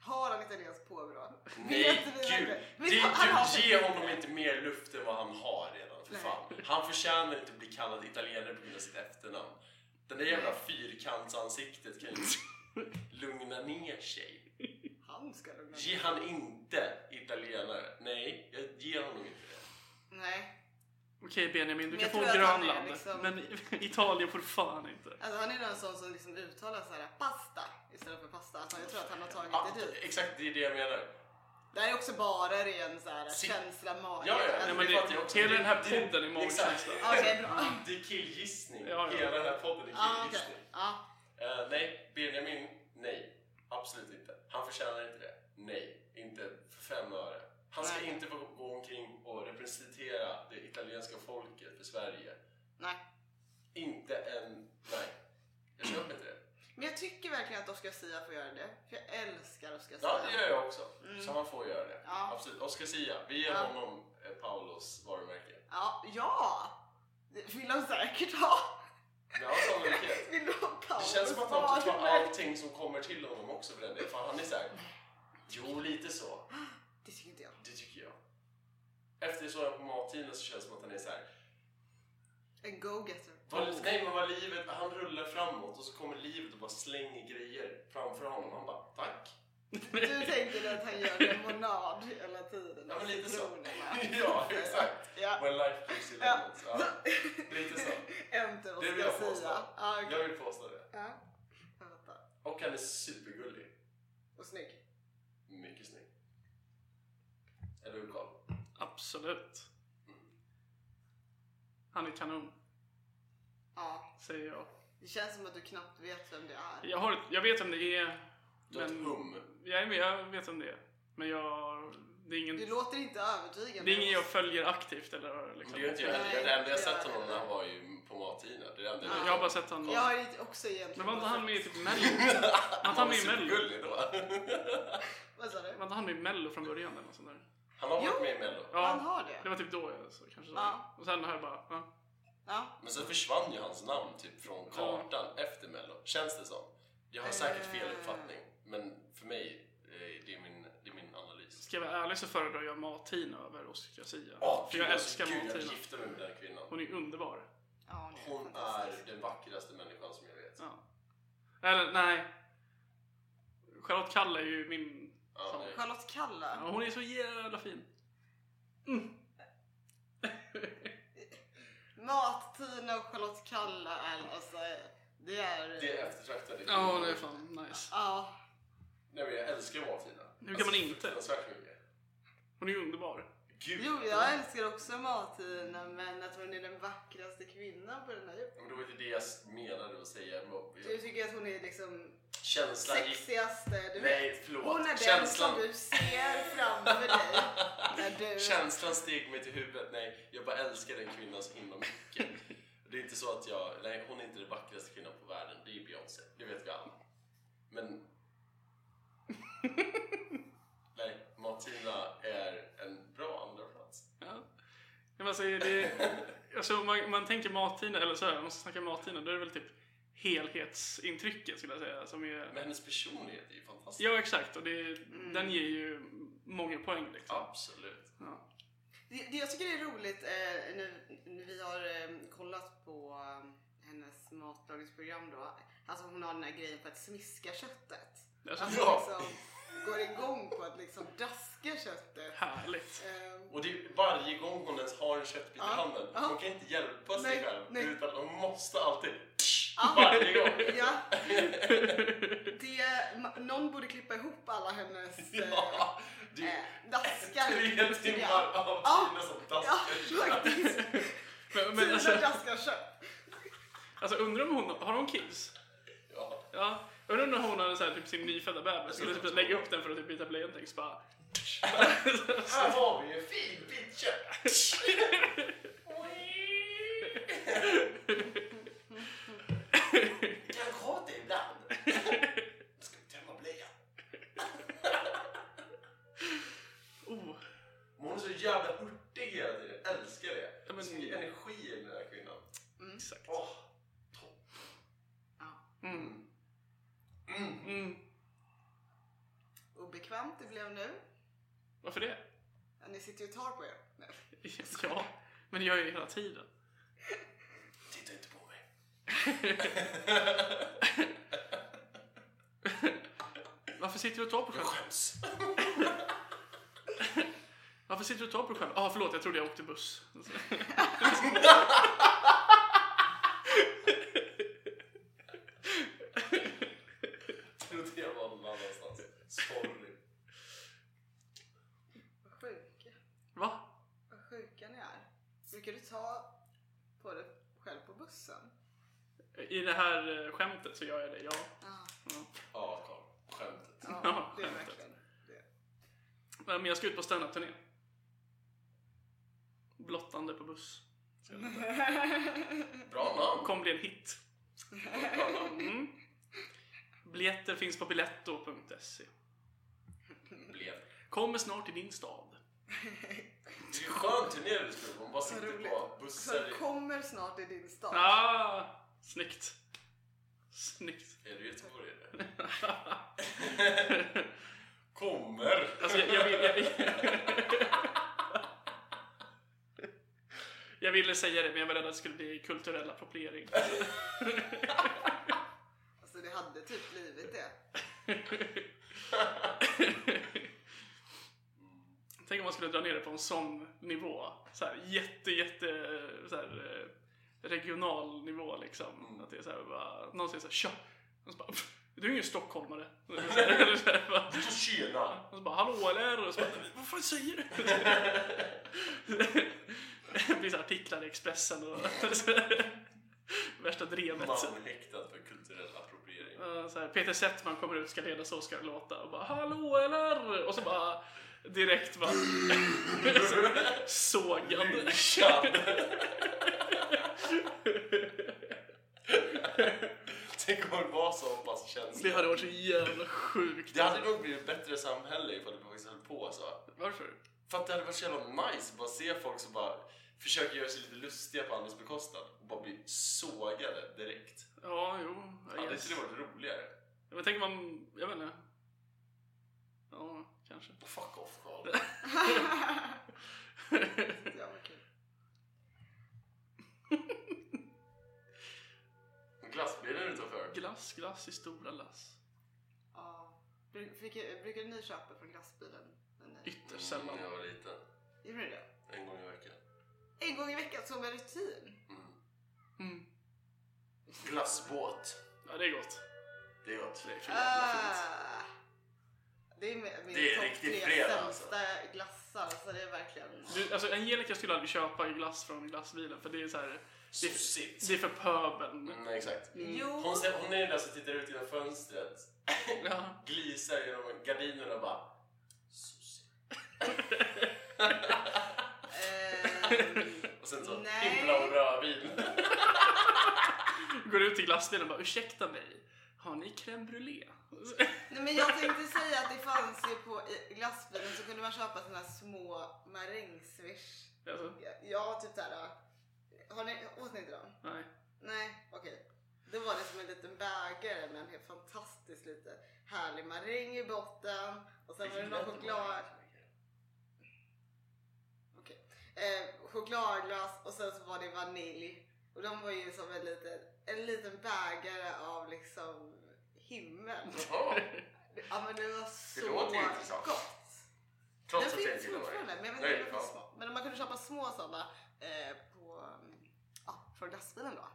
Har han italiensk påbrå?
Nej,
Vet vi
gud!
inte.
Det,
Vi- han har-
du, ge honom inte mer luft än vad han har redan, för
Nej.
fan. Han förtjänar inte att bli kallad italienare på grund av sitt efternamn. Den där jävla fyrkantsansiktet kan ju [laughs] lugna ner sig.
Han ska lugna
Ge
ner
han inte italienare. Nej, jag ger honom inte det.
Nej,
Okej Benjamin, du
Men
kan
jag
få
tror att han är
Grönland.
liksom-
Men [laughs] Italien får du fan inte.
alltså han är ju en sån som liksom uttalar så här pasta istället för pasta. Alltså, jag tror att han har tagit
Ja,
det dit.
exakt, det är det jag menar.
Det här är också bara ren så här,
Si-
känsla i magen.
Ja, ja,
Alltså,
Nej, men
det fattar jag
det,
också.
hela den här
Det- det-
podden är
Exakt.
magkänsla.
Okej, bra.
Det är killgissning.
Ja, ja.
Hela den här podden är
Ja, okej.
killgissning.
Ja.
Eh, nej, Benjamin, nej. Absolut inte. Han förtjänar inte det. Nej, inte för fem öre. Han ska
Nej.
inte få gå omkring och representera det italienska folket för Sverige.
Nej.
Inte en... Nej. Jag köper inte det.
Men jag tycker verkligen att Oscar Sia får göra det. För jag älskar Oscar Sia.
Ja, det gör jag också.
Mm.
Så han får göra det.
Ja.
Absolut. Oscar Sia, vi ger
Ja.
honom eh, Paulos varumärke.
Ja, ja! Det vill de säkert ha.
Ja, sannolikhet.
Vill de ha
Det känns som att han typ tar allting som kommer till honom också för den delen. För han är såhär, jo lite så.
Det tycker inte jag.
Det tycker jag. Efter så här på mattiden så känns det som att han är såhär,
En go-getter.
vad, nej men vad livet, han rullar framåt och så kommer livet och bara slänger grejer framför honom. Han bara, tack.
Du tänker att han gör lemonad hela tiden.
Ja men lite så.
Citronerna.
[laughs] ja, exakt.
Ja.
When life gives you lemons. Ja, lite så.
Enter
Det vill jag
Oscar
påstå.
Sia. Ja, okej.
Jag vill påstå det.
Ja. Jag fattar.
Och han är supergullig.
Och snygg.
Mycket snygg. Eller hur Carl?
Absolut. Han är kanon,
Ja.
säger jag.
Det känns som att du knappt vet vem det är.
Jag, har, ett- jag vet vem det är.
Du har ett
Men-
hum.
Jag, är med, jag vet vem det är. Men jag... Det är ingen,
Du låter inte övertygande.
det är ingen jag följer aktivt eller
Men
liksom.
Det gör inte jag heller.
Nej,
Det enda jag
det gör
sett
jag
honom när
inte.
han var ju på mattiden. Det är det enda
Ja.
Jag har bara sett han...
Jag har ju också egentligen...
Men var inte han med i typ Mello? Var inte han med i Mello?
Supergullig då. [laughs]
Vad sa du?
Var inte han med i Mello från början eller något sånt där?
Han har varit
Jo.
med i Mello.
Han
Ja,
har
det
det.
var typ då jag så, kanske såg
Ja.
Och sen har jag bara... Ja.
Ja.
Men sen försvann ju hans namn typ från kartan efter Mello, känns det som. Jag har säkert fel
Eh.
uppfattning, men för mig, eh, det är min, det är min analys.
Ska jag vara ärlig så föredrar jag Martina över Oscar Sia.
Åh,
För jag
gud,
älskar
gud, jag
Martina.
gifte mig med den kvinnan.
Hon är underbar.
Ja,
Hon är den vackraste människan som jag vet.
Ja. Eller nej. Charlotte Kalla är ju min...
Ja,
Som-
nej.
Charlotte Kalla.
Ja, hon är så jävla fin.
Mat-Tina och Charlotte Kalla är alltså... Det är...
Det är eftertraktade kvinnor.
Ja, det är fan nice.
Ja.
Nej men jag älskar Martina.
Hur kan man inte?
Alltså, Fruktansvärt mycket.
Hon är ju underbar.
Gud.
Jo, jag älskar också Mat-Tina men att hon är den vackraste kvinnan på den här jorden.
Men det var inte det jag menade att säga.
Du tycker att hon är liksom
Känslan gick...
sexigaste du vet.
Nej, förlåt.
Hon är den
Känslan...
som du ser
[laughs]
framför dig. När du...
Känslan steg mig till huvudet. Nej, jag bara älskar den kvinnan så himla mycket. Det är inte så att jag... Nej, hon är inte den vackraste kvinnan på världen. Det är Beyoncé. Det vet vi alla. Men... nej, Martina är en bra andraplats.
Ja.
[laughs]
Ja, men alltså, det, alltså, om man, om man tänker Martina, eller så här, om man ska snacka Martina, då är det väl typ helhetsintrycket skulle jag säga. Som är...
Men hennes personlighet är ju fantastisk.
Ja, exakt. Och det, den ger ju många poäng. Liksom.
Absolut.
Ja.
Det, det jag tycker är roligt eh, nu, nu vi har eh, kollat på eh, hennes matlagningsprogram då. Alltså hon har den här grejen för att smiska köttet.
Det är så
Att hon
Ja.
liksom går igång på att liksom daska köttet.
härligt.
Eh,
Och det är ju varje gång hon ens har en köttbit i
Ja,
handen.
ja.
Hon kan inte hjälpa sig
Nej,
själv.
nej.
Utan hon måste alltid...
Ja.
[laughs] Varje
[laughs]
gång.
ja. Det, ma- någon borde klippa ihop alla hennes eh,
Ja, det är
eh, daskar.
tre
tycker jag.
timmar av
Ja.
Kina som
Ja,
daskar.
faktiskt.
Men, men alltså,
Fyra daskar kött.
alltså undrar om hon har hon kids?
Ja.
Ja. Jag undrar om hon hade så här, typ, sin nyfödda bebis och typ, lägga upp den för att typ, byta blöja och så bara...
Här har vi en fin bit kött. Kan ha det ibland. Ska vi tömma blöjan?
Oh,
Men Hon är så jävla hurtig hela tiden. Jag älskar det.
Ja, men-
Så mycket energi i den här kvinnan.
exakt.
Åh, topp.
Mm.
Mm.
Mm.
Obekvämt det blev nu.
Varför det? [laughs]
Ja, ni sitter ju och tar på er. Nej.
Ja, men det gör jag ju hela tiden.
Titta inte på mig.
Varför sitter du och tar på
Jag
själv?
skäms.
Varför sitter du och tar på dig själv? Ah, förlåt, jag trodde jag åkte buss. [laughs]
Trodde jag var någon annanstans. Sorry.
Vad sjuka,
Va?
vad sjuka ni är. Brukar du ta på dig själv på bussen?
I det här eh, skämtet så gör jag det, ja.
Ja,
Ja, Carl. Skämtet.
ja det är
skämtet.
verkligen det.
Men jag ska ut på standup-turné. Blottande på buss.
Bra namn.
Kommer bli en hit. Mm. Biljetter finns på biletto.se.
Blev.
E. Kommer snart till din stad.
Det är ju skön turné du skulle på. Man bara
Vad
sitter
roligt.
på bussar.
Så kommer snart i din stad.
Ah, snyggt. Snyggt.
Är du göteborgare? [laughs] Kommer.
Alltså, jag, jag, vill, jag, jag ville säga det, men jag var rädd att det skulle bli kulturell appropriering.
Alltså det hade typ
[laughs]
blivit det.
Tänk om man skulle dra ner det på en sån nivå. Så här, jätte, jätte så här, eh, regional nivå liksom.
Mm.
Att det är så här, bara, någon säger så här, tja. Och så bara, "Pff, du är ju en stockholmare. [laughs] Eller så här, bara,
Du får tjena.
och så bara, hallå eller? Och så bara, vad fan säger du? Det blir så här artiklar i Expressen och [laughs] värsta drevet.
Man häktad för kulturell appropriering.
Eh, Så här, Peter Settman kommer ut, ska leda Så ska det låta och bara Hallå eller? Och så bara direkt bara [laughs] sågande.
Lynchad. Tänk om det var så pass
Det
känsligt.
hade varit så jävla sjukt.
Det hade nog blivit ett bättre samhälle ifall det faktiskt höll på så.
Varför?
För att det hade varit så jävla nice att bara se folk som bara försöker göra sig lite lustiga på andras bekostnad och bara bli sågade direkt.
Ja, jo.
Ja,
I
det
guess.
skulle varit roligare.
Men tänk om man, jag vet inte. Ja, kanske.
Fuck off Carl.
Ja, vad kul.
[laughs] Glassbilen utanför.
Glass, glass i stora lass.
Ja. Bru- Brukar, brukar ni köpa från glassbilen? när ni-
Ytterst sällan.
När jag var liten.
Gjorde ni det?
En gång i veckan.
En gång i veckan som en rutin?
Mm.
Glassbåt.
Ja, det är gott.
Det är gott.
Det är fint.
Ah. Det är med- min
Det är
topp
riktigt
tre
fredag,
sämsta glassar. Så det är verkligen...
Du, alltså Angelica skulle aldrig köpa glass från glassbilen för det är så här,
Sossigt.
det är för pöbeln.
Mm, exakt.
Jo. eh,
Hon, ser, hon är den där som tittar ut genom fönstret,
Ja.
glisar genom gardinerna och bara... Sossigt.
ehm,
Och sen så
Nej.
himla och rödvin.
Går ut till glassbilen och bara ursäkta mig, har ni crème brûlée? [laughs] Alltså,
Nej, men jag tänkte säga att det fanns ju på i glassbilen så kunde man köpa såna här små marängsviss.
Alltså,
Ja, typ såhär. Har ni, åt ni inte dem?
nej.
Nej, okej. Då var det som en liten bägare med en helt fantastisk lite härlig maräng i botten. Och sen var det någon choklad. Okej. Eh, chokladglass och sen så var det vanilj. Och de var ju som en liten, en liten bägare av liksom himmel.
[laughs] Jaha,
Ja men det var så
Det låter ju intressant.
gott. Den
trots att jag
finns
inte gillar
fortfarande men jag vet
Nej,
inte om de
ja.
finns små. Men man kunde köpa små sådana eh, på, mm, ja, från lastbilen då.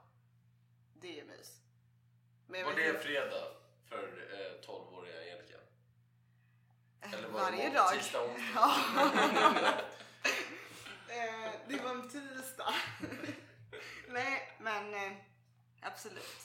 Det är ju mys. Men jag
Var
vet
det
inte-
fredag för eh, 12-åriga Angelica? Eller var det
Varje
måndag,
dag.
tisdag, onsdag?
[laughs] Ja. Eh, det var en tisdag. [laughs] Nej, men eh, absolut.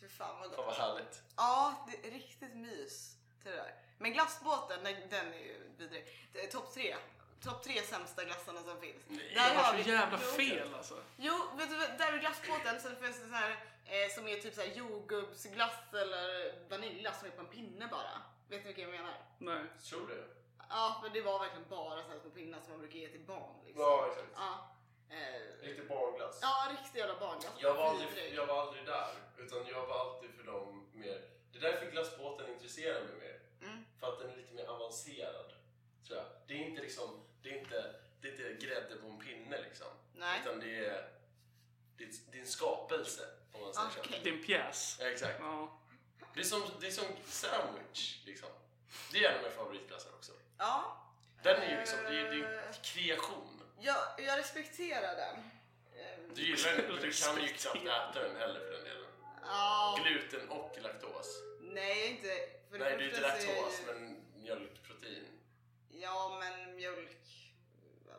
Fy fan vad
Fan
gott.
vad härligt.
Ja, det är riktigt mys till det där. Men glassbåten, den, den är ju vidrig. Det är Topp tre. Topp tre sämsta glassarna som finns.
Nej,
Det var
vi-
så jävla
Jo.
fel alltså.
Jo, vet du, vad? där är glassbåten så det finns det sån här eh, som är typ så här jordgubbsglass eller vanilja som är på en pinne bara. Vet ni vilken jag menar?
Nej.
Tror du?
Ja, men det var verkligen bara sådana små pinnar som man brukar ge till barn. Liksom.
Ja, exakt.
Ja, eh,
Riktig barnglass.
ja riktig jävla barnglass.
Jag var, aldrig,
Vidrig.
jag var aldrig där, utan jag var alltid för dem mer... Det är därför glassbåten intresserar mig mer.
Mm.
För att den är lite mer avancerad, tror jag. Det är inte liksom... Det är inte, det är inte grädde på en pinne liksom.
Nej.
Utan det är... Det är, det är en skapelse, om man säger
Okej.
Det är en pjäs.
så. Ja, Exakt.
Ja.
Det är, som, det är som sandwich, liksom. Det är en av mina favoritglassar också.
Ja,
Den är ju liksom... Det är, det är kreation.
jag, jag respekterar den. Eh,
Du gillar den, men du kan ju knappt äta den heller för den delen.
Ja,
Gluten och laktos.
nej jag är inte. För det
Nej, det är ju inte
första så är jag
laktos,
ju-
men mjölkprotein.
Ja, men mjölk.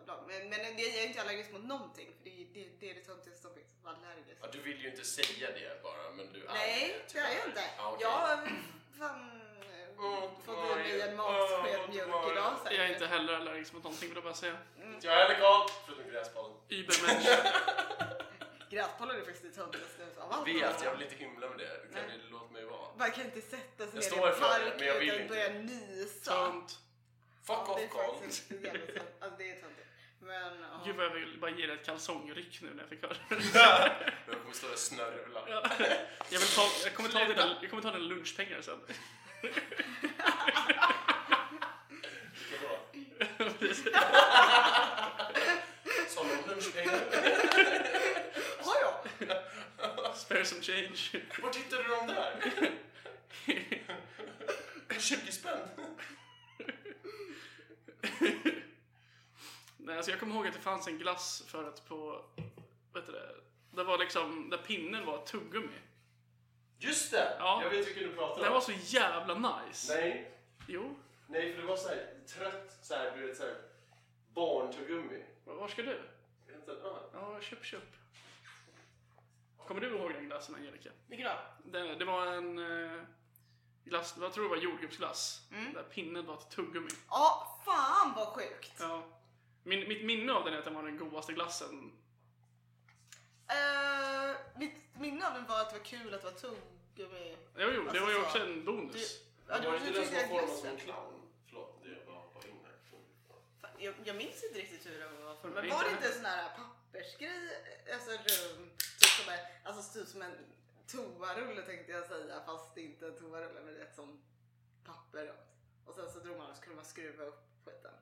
Ja, Men, men det- jag är inte allergisk mot någonting. För det, är- det, det är det töntigaste som finns. att vara Allergisk.
Ja, du vill ju inte säga det bara, men du är
Nej, det är jag inte.
Ja, okej.
Jag har fan eh,
Ont
fått
mage.
i mig en
Åh,
matsked
ont
mjölk
mage.
idag
Jag är
säkert.
inte heller allergisk mot någonting vill jag bara säga.
Jag är heller Karl, förutom gräsbollen.
Übermensch.
Gräspollen är faktiskt det töntigaste av allt.
Vet, jag vill inte hymla med det. Kan
Nej.
du låta mig vara?
Man kan inte sätta sig
Jag
ner i
står
en
för det,
park
men jag vill
utan att
inte.
börja nysa.
Tönt.
Fuck
Det
off
är
Karl.
faktiskt jävla tönt. Alltså det är töntigt. Men ja.
Gud vad jag vill bara ge dig ett kalsongryck nu när jag fick höra det.
[laughs] Jag kommer stå där och snörvla.
Ja. Jag, vill ta, jag, kommer ta dina, jag kommer ta dina lunchpengar sen. [laughs]
Som om lunchpengar.
har jag?
Spare some change.
Vart hittade du dem där? [laughs] 20 spänn?
Nej, alltså jag kommer ihåg att det fanns en glass förut på, vet du det, där var liksom, där pinnen var ett tuggummi.
Just det!
Ja.
Jag vet vilken du
Det
pratar
här
om.
var så jävla nice.
Nej,
Jo,
nej, för det var så här trött, så här, du vet så här barntuggummi.
var var ska du?
Jag vet inte, ah.
Ja, köp, köp. Kommer du ihåg den glassen Angelica? Det, det var en eh, glass, jag tror det var jordgubbsglass, där pinnen var ett tuggummi.
Ja, fan vad sjukt.
Ja. Min, mitt minne av den är att den var den godaste glassen.
Eh, mitt minne av den var att det var kul att det var tuggummi.
Jo, jo, det
Alltså,
var ju
så-
också en bonus.
Ja,
Var det inte den som
tyckte
var
jag
formad
glassen.
som en clown? Förlåt, det är bara hoppa in här.
Fan, Jag, jag minns inte riktigt hur den var formad.
Nej,
Men var det
inte
inte en sån här pappersgrej? Alltså rum, typ som en, alltså typ som en toarulle tänkte jag säga. Fast det är inte en toarulle men det är ett sånt papper runt. Och sen så drog man och så kunde man skruva upp skiten.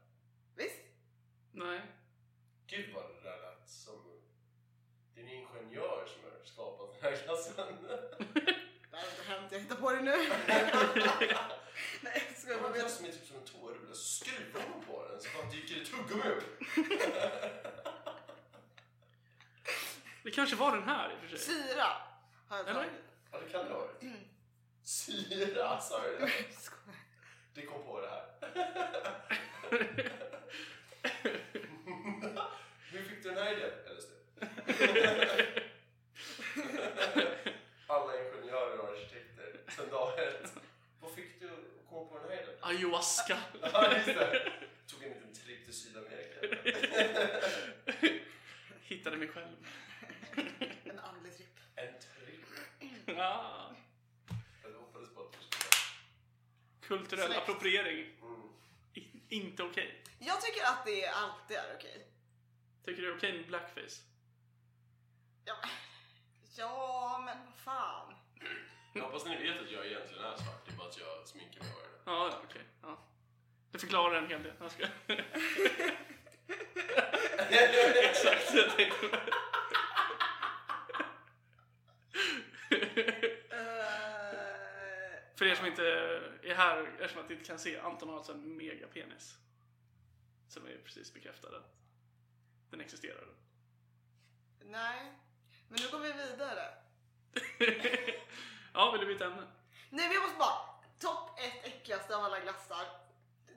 Visst?
Nej.
Gud vad det där lät som... Det är en ingenjör som har skapat den här klassen.
Det här har inte hänt, jag hittar på det nu. Nej jag
Det
skojar
var
bara.
en klass
vet-
som är typ som en toarulle. Så skruvar man på den så bara dyker det tuggummi upp.
Det kanske var den här i och för sig.
Syra har jag
Eller?
tagit.
Ja, det kan det ha varit. Syra, sa du det?
Skojar.
Det kom på det här. Hur fick du den här idén? Eller så. Alla ingenjörer och arkitekter sen dag ett. Vad fick du att komma på den här idén?
Ayahuasca.
Ja, just det. Tog en liten tripp till Sydamerika.
Hittade mig själv.
En andlig tripp.
En tripp.
Ah.
Jag hoppades på att du skulle...
Kulturell
Släkt.
appropriering.
Mm.
I, inte okej.
Jag tycker att det alltid är okej.
Tycker du det är okej med blackface?
Ja. Ja, men vad fan.
Jag hoppas ni vet att jag egentligen är svart, det är bara att jag sminkar mig över det.
Ja, ja, okej. Ja. Det förklarar en hel del. Jag ska... Exakt, [laughs] jag tänkte [laughs] på det.
Eh,
För er som inte är här, eftersom att ni inte kan se, Anton har alltså en megapenis. Som är precis bekräftad att den existerar. [laughs]
nej, men nu går vi vidare.
ja, vill du byta ämne?
Nej, men jag måste bara. Topp ett äckligaste av alla glassar.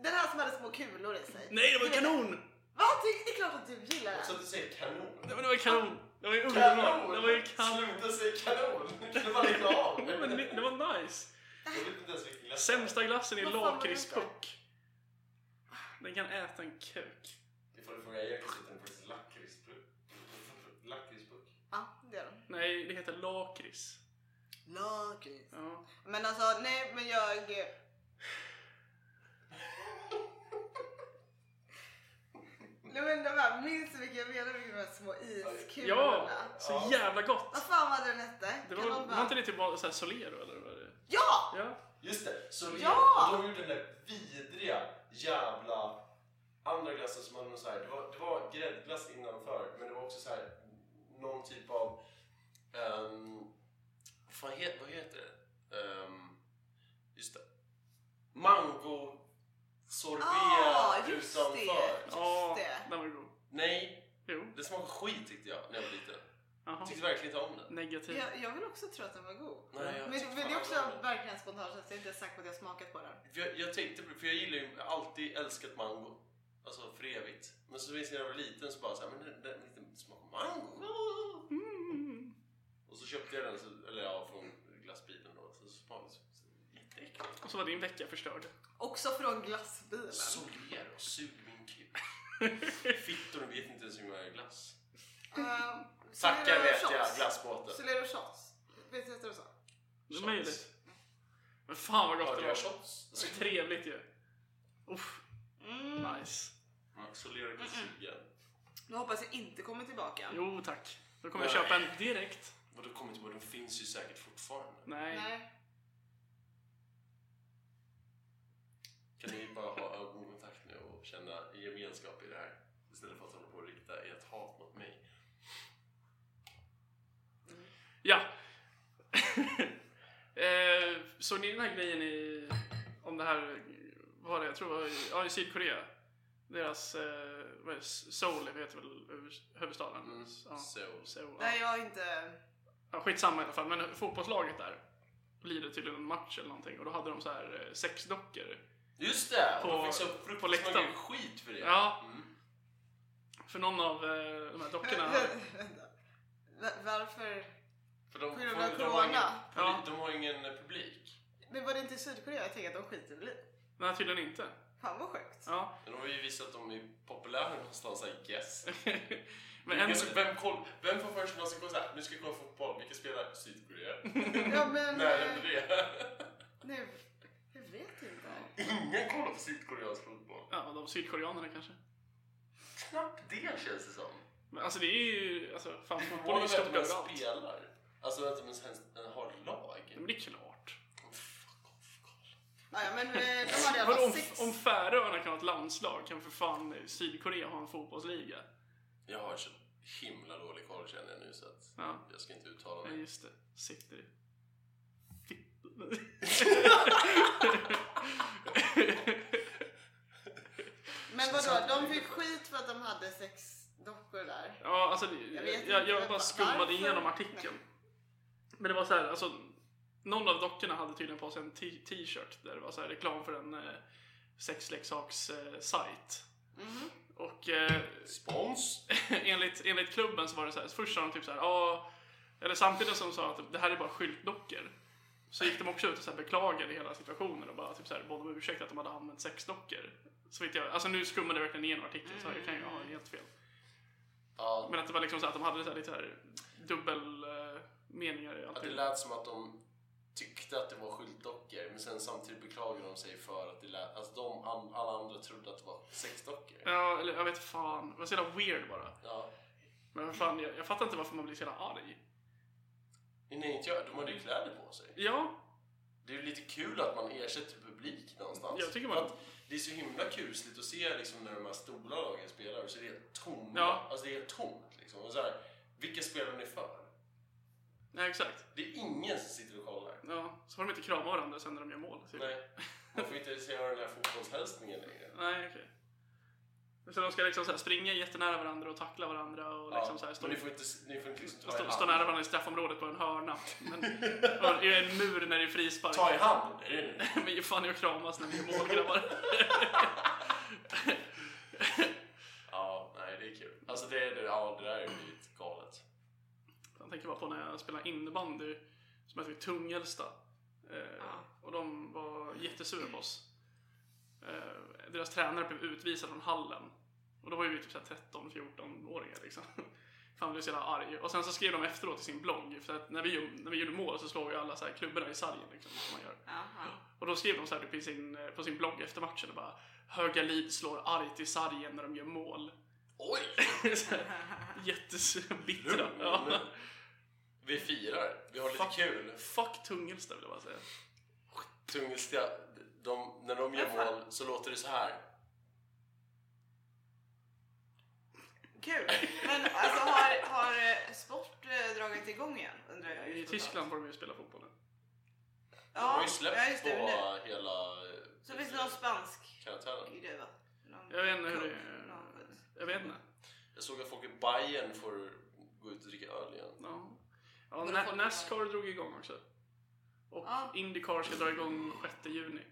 Den här som hade små kulor i sig.
Nej, det var
Du vet-
kanon!
Va? Det- Det är klart att du gillar
Så
den.
att du säger kanon.
Nej, men det var kanon! Det var ju underbart! Det var ju kanon!
Sluta säga kanon! Det var lite av.
[laughs] Nej, men det det var nice!
Jag vet inte ens vilken glass.
Sämsta glassen är
Vad fan var det
lakritspuck. Den kan äta en kuk.
Det får du fråga Erik som heter faktiskt lakritsburk. Lakritsburk.
Ja, det är den.
Nej, det heter lakrits.
Lakrits.
Ja.
Men alltså, nej, men jag... Nej men de här, minns du vilka jag menar med de här små iskulorna?
ja, så
Ja.
jävla
Vad
gott!
fan var det den hette?
Det
Kan
var,
någon bara-
var inte det typ bara så här Solero eller? Vad det?
Ja!
Ja.
Just det, så
Ja!
de gjorde den där vidriga jävla andra glassen som hade någon så här, det var, det var gräddglass innanför men det var också så här någon typ av, ehm, vad fan he, vad heter det? Ehm, just det, mango sorbet
Ah, just
utanför.
det.
Ja,
det.
den var ju god.
Nej,
Jo.
det smakade skit tyckte jag när jag var liten.
Jaha.
Jag
Typ.
tyckte verkligen inte om det.
Negativ.
Jag, jag vill också tro att den var god.
Nej, jag
Men,
tyckte
men det är
fan
också
det var det.
verkligen spontant, så jag är inte säker på att jag har smakat på den.
För jag, jag tänkte, för jag gillar ju alltid älskat mango. Alltså för evigt. Men så minns jag när jag var liten så bara såhär, men den, den lite smak av mango.
Mm.
Och så köpte jag den, så, eller ja, från glassbilen då. Så smakade det jätteäckligt.
Och så var din vecka förstörd.
Också från glassbilen.
Soler och sug min kuk. Fittor vet inte ens hur man gör glass.
Ehm,
Tackar
Solero
vet jag,
shots.
glassbåten.
Solero shots. Vet du vad jag sa?
Det är möjligt. Men fan vad gott
Hörde
det
jag
var.
shots?
Så trevligt ju. Uff,
Mm.
nice.
Solera glassugen.
Nu hoppas jag inte kommer tillbaka.
Jo tack. Då kommer jag köpa en direkt.
Vadå kommer inte på, de finns ju säkert fortfarande.
Nej.
Nej.
Kan ni bara ha ögonkontakt nu och känna gemenskap i det här? Istället för att hålla på och rikta ert hat mot mig.
Ja. [laughs] eh, såg ni den här grejen i, om det här, vad var det, jag tror det var i, ja, i Sydkorea? Deras, eh, vad är det, Seoul heter väl huvud- huvudstaden?
Mm.
Ja.
Seoul.
Seoul, ja.
Nej, jag har inte...
ja, skitsamma i alla fall, men fotbollslaget där lider tydligen en match eller någonting och då hade de så här eh, sexdockor.
Just det!
På-
de fick så
på
fruktansvärt
läktaren.
mycket skit för det.
Ja.
Mm.
För någon av eh, de här dockorna
[laughs]
hade-
[laughs] Vänta. Va- Varför?
För de,
På grund
för
av
de, har ingen,
corona.
Ja.
de har ingen eh, publik.
Men var det inte i Sydkorea? Jag tänker att de skiter väl i.
Nej, tydligen inte.
Fan vad sjukt.
Ja. [laughs]
Men de har ju visat att de är populära någonstans, I guess.
men
Vilken
en,
som- vem, koll, vem får för sig någonsin gå såhär, nu ska vi kolla fotboll, vilka spelar Sydkorea?
Ja,
[laughs]
men...
När
eh,
hände det?
Nej, jag vet inte.
Ingen kollar på Sydkoreansk fotboll.
ja, de sydkoreanerna kanske.
Knappt det känns det som.
Men alltså det är ju, alltså fan fotboll är
Fotboll
ju
är
stort
att man
överallt.
spelar. Alltså att man ens har lag.
Ja, Men det är klart.
Fuck off, Karl.
Ja, ja, men eh, de hade i alla
Vadå,
fall
om,
sex.
om Färöarna kan ha ett landslag kan för fan Sydkorea ha en fotbollsliga?
Jag har så himla dålig koll känner jag nu så att
Ja,
jag ska inte uttala
nej
mig.
just det. Sitter i. Fitt-
Men vadå, de fick skit för att de hade sex dockor där.
ja, alltså det-
Jag
jag,
vet
jag,
inte,
jag,
men
bara
va-
skummade
varför?
igenom artikeln. Men det var så här, alltså någon av dockorna hade tydligen på sig en t- t-shirt där det var så här reklam för en eh, sexleksaks-sajt.
Mhm.
Och eh,
Spons?
enligt, enligt klubben så var det så här, först sa de typ så här, ja, eller samtidigt som de sa att det här är bara skyltdockor. Så gick de också ut och så här beklagade hela situationen och bara typ så här, bad om ursäkt att de hade använt sexdockor. Så vet jag, alltså nu skummade jag verkligen igenom artikeln så här, jag kan ju
Mm.
ha helt fel.
Ja,
Men att det var liksom så här, att de hade så här, lite så här dubbel eh, meningar i
att det
allting.
lät som att de tyckte att det var skyltdockor men sen samtidigt beklagade de sig för att det lät, alltså de, an- alla andra trodde att det var sexdockor.
Ja, eller jag vet fan. Det var så jävla weird bara.
Ja.
Men vad fan, jag, jag fattar inte varför man blir så jävla arg.
Nej, inte jag. De hade ju kläder på sig.
Ja,
Det är ju lite kul att man ersätter publik någonstans.
Jag tycker man-
För att det är så himla kusligt att se liksom, när de här stora lagen spelar och så är det helt tomt.
Ja.
Alltså det är helt tomt liksom. Och så här, vilka spelar ni för?
nej exakt.
Det är ingen som sitter och kollar.
Ja, så får de inte krama varandra sen när de gör mål. Typ.
Nej. [laughs] Man får inte ens göra den här fotbollshälsningen
Liksom
längre.
Nej, okej. Så de ska liksom så här springa jättenära varandra och tackla varandra och liksom så här stå,
men ni får inte, ni får inte liksom ta i
stå,
hand.
stå nära varandra i straffområdet på en hörna.
[laughs]
Men, och i en mur när det är frispark.
Ta i hand! Är det nu?
Men ge fan i att kramas när vi gör mål grabbar.
Ja, nej det är kul. Alltså det, är- det, ja, det där är blivit galet.
Jag tänker bara på när jag spelade innebandy som hette vi Tungelsta. Eh, och de var jättesura på oss. Eh, deras tränare blev utvisad från hallen. Och då var ju vi typ 13-14-åringar liksom. [laughs] Fan blev så jävla arg. Och sen så skrev de efteråt i sin blogg, för att när vi, gjorde- när vi gjorde mål så slog ju alla så här klubborna i sargen liksom, som man gör. Och då skrev de så här typ i sin, på sin blogg efter matchen och bara Höga lid slår argt i sargen när de gör mål. [laughs]
Oj!
Så här, Jättesura, bittra.
Lugn,
Ja.
lugn. Vi firar. Vi har lite
Fuck.
kul.
Fuck Tungelsta vill jag bara säga.
Tungelska, de, när de gör mål så låter det så här.
Kul! Men alltså har, har eh, sport eh, dragit igång igen undrar jag?
I Tyskland får de ju spela fotboll nu.
De har
Ja,
ju släppt
ja just det.
på
men Nu.
hela eh,
Så finns det någon spansk
karaktären.
grej va? Någon
Jag vet inte hur det
klubb,
är.
någon skit.
Jag vet inte.
Jag såg att folk i Bayern får gå ut och dricka öl igen.
Ja. Ja, Na- Nascar drog igång också. Och
Ja.
Indycar ska dra igång 6 juni.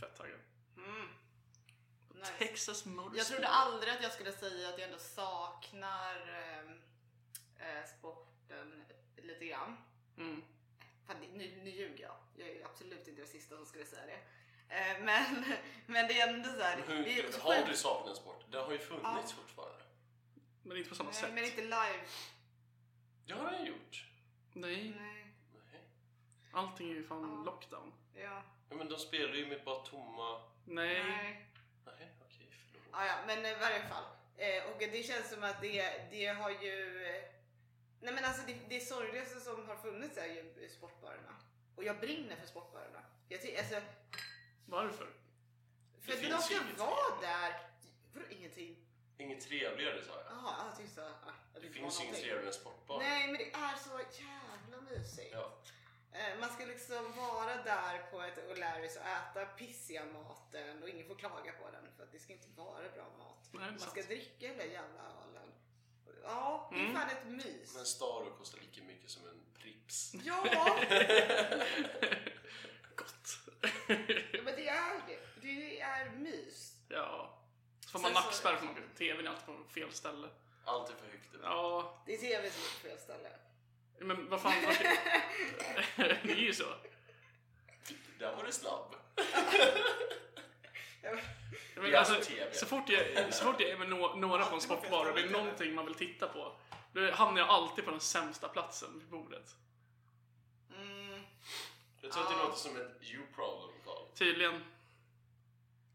Fett taggad.
Mm. Nice.
Texas Motorsport.
Jag trodde aldrig att jag skulle säga att jag ändå saknar ehm, eh, sporten lite grann.
Mm.
Fan, det- nu, nu ljuger jag. Jag är absolut inte den sista som skulle säga det. Eh, men, [laughs] men det är ändå så här.
Men hur,
det är så
har
sjukt.
du saknat sport? Det har ju funnits fortfarande.
Men inte på samma
Nej,
sätt.
men inte live.
Det har den gjort.
Nej,
Nej.
Nej.
allting är ju fan
Ja.
lockdown.
Ja.
Ja, men de spelar ju med bara tomma...
Nej.
Nej.
Nej, okej, förlåt.
Ah, ja, men i varje fall. Eh, och det känns som att det, det har ju... eh, Nej men alltså det, det sorgligaste som har funnits är ju sportbarerna. Och jag brinner för sportbarerna. Jag ty- alltså,
Varför?
för
Det
att de
finns
ska
ju inget
vara där. Vadå ingenting?
Inget trevligare sa jag.
Jaha, jag tyckte så. Ah, att
Det
inte var
finns ju inget
någonting.
trevligare än sportbar.
Nej men det är så jävla mysigt.
Ja.
Eh, Man ska liksom vara där på ett O'Larrys och äta pissiga maten och ingen får klaga på den för att det ska inte vara bra mat.
Nej, det är
Man
sant.
ska dricka den där jävla ölen. Ja, det är
Mm.
fan ett mys.
Men Staro kostar lika mycket som en Prips.
Ja,
[laughs] Gott. [laughs]
men det är det. Det är mys.
ja. Så får man
Sen så-
nackspärr för man tvn är alltid på fel ställe.
Allt är för högt upp.
Ja,
Det är tv som är på fel ställe.
men vad fan. vad ska- [laughs]
[laughs]
det är ju så.
Där var du snabb.
Ja, Men
Ja,
alltså,
TV.
så, fort jag, så fort jag är med nå- några på en sportbar och det är någonting man vill titta på, då hamnar jag alltid på den sämsta platsen vid bordet.
Mm.
Jag tror att det
Ja.
låter som ett you problem, Carl.
Tydligen.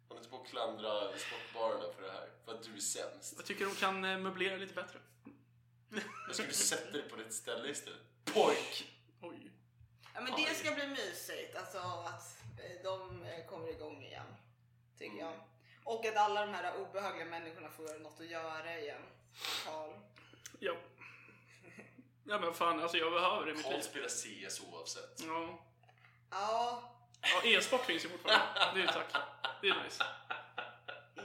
Håll inte på och klandra sportbarerna för det här. För att du är sämst.
Jag tycker de kan eh, möblera lite bättre.
Jag skulle sätta dig på rätt ställe istället. Pojk!
Oj.
Ja, men
Oj.
det ska bli mysigt, alltså att eh, de eh, kommer igång igen. Tycker jag. Och att alla de här obehagliga människorna får något att göra igen. Karl.
Ja. Ja men fan, alltså jag behöver det i mitt
Carl
liv.
spelar CS oavsett.
Ja.
Ja,
ja, e-sport finns ju fortfarande. Det är ju tack. Det är nice.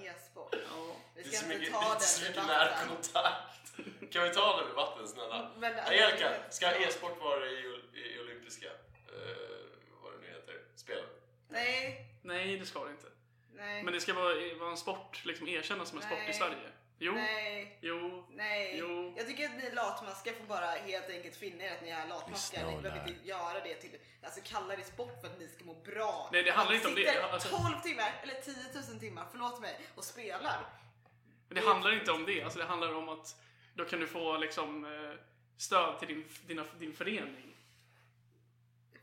e-sport.
Ja.
Vi
Det är
ska
så
inte
mycket, det
ta
är
den
så mycket
debatten.
närkontakt. Kan vi ta den debatten snälla?
Men-
Angelica, ska e-sport vara i, i olympiska, eh, vad det nu heter, spelen?
Nej,
Nej, det ska det inte.
nej,
Men det ska vara, vara en sport, liksom erkännas som en sport i
Nej.
Sverige. Jo,
nej,
jo.
nej.
Jo.
Jag tycker att ni latmaskar får bara helt enkelt finna er att ni är latmaskar. Ni behöver inte göra det till, alltså kalla det sport för att ni ska må bra.
Nej, det handlar
Ni
inte om det.
sitter
Alltså-
12 timmar, eller 10 000 timmar, förlåt mig, och spelar.
Men det handlar inte om det. Alltså det handlar om att då kan du få liksom eh, stöd till din, dina, din förening.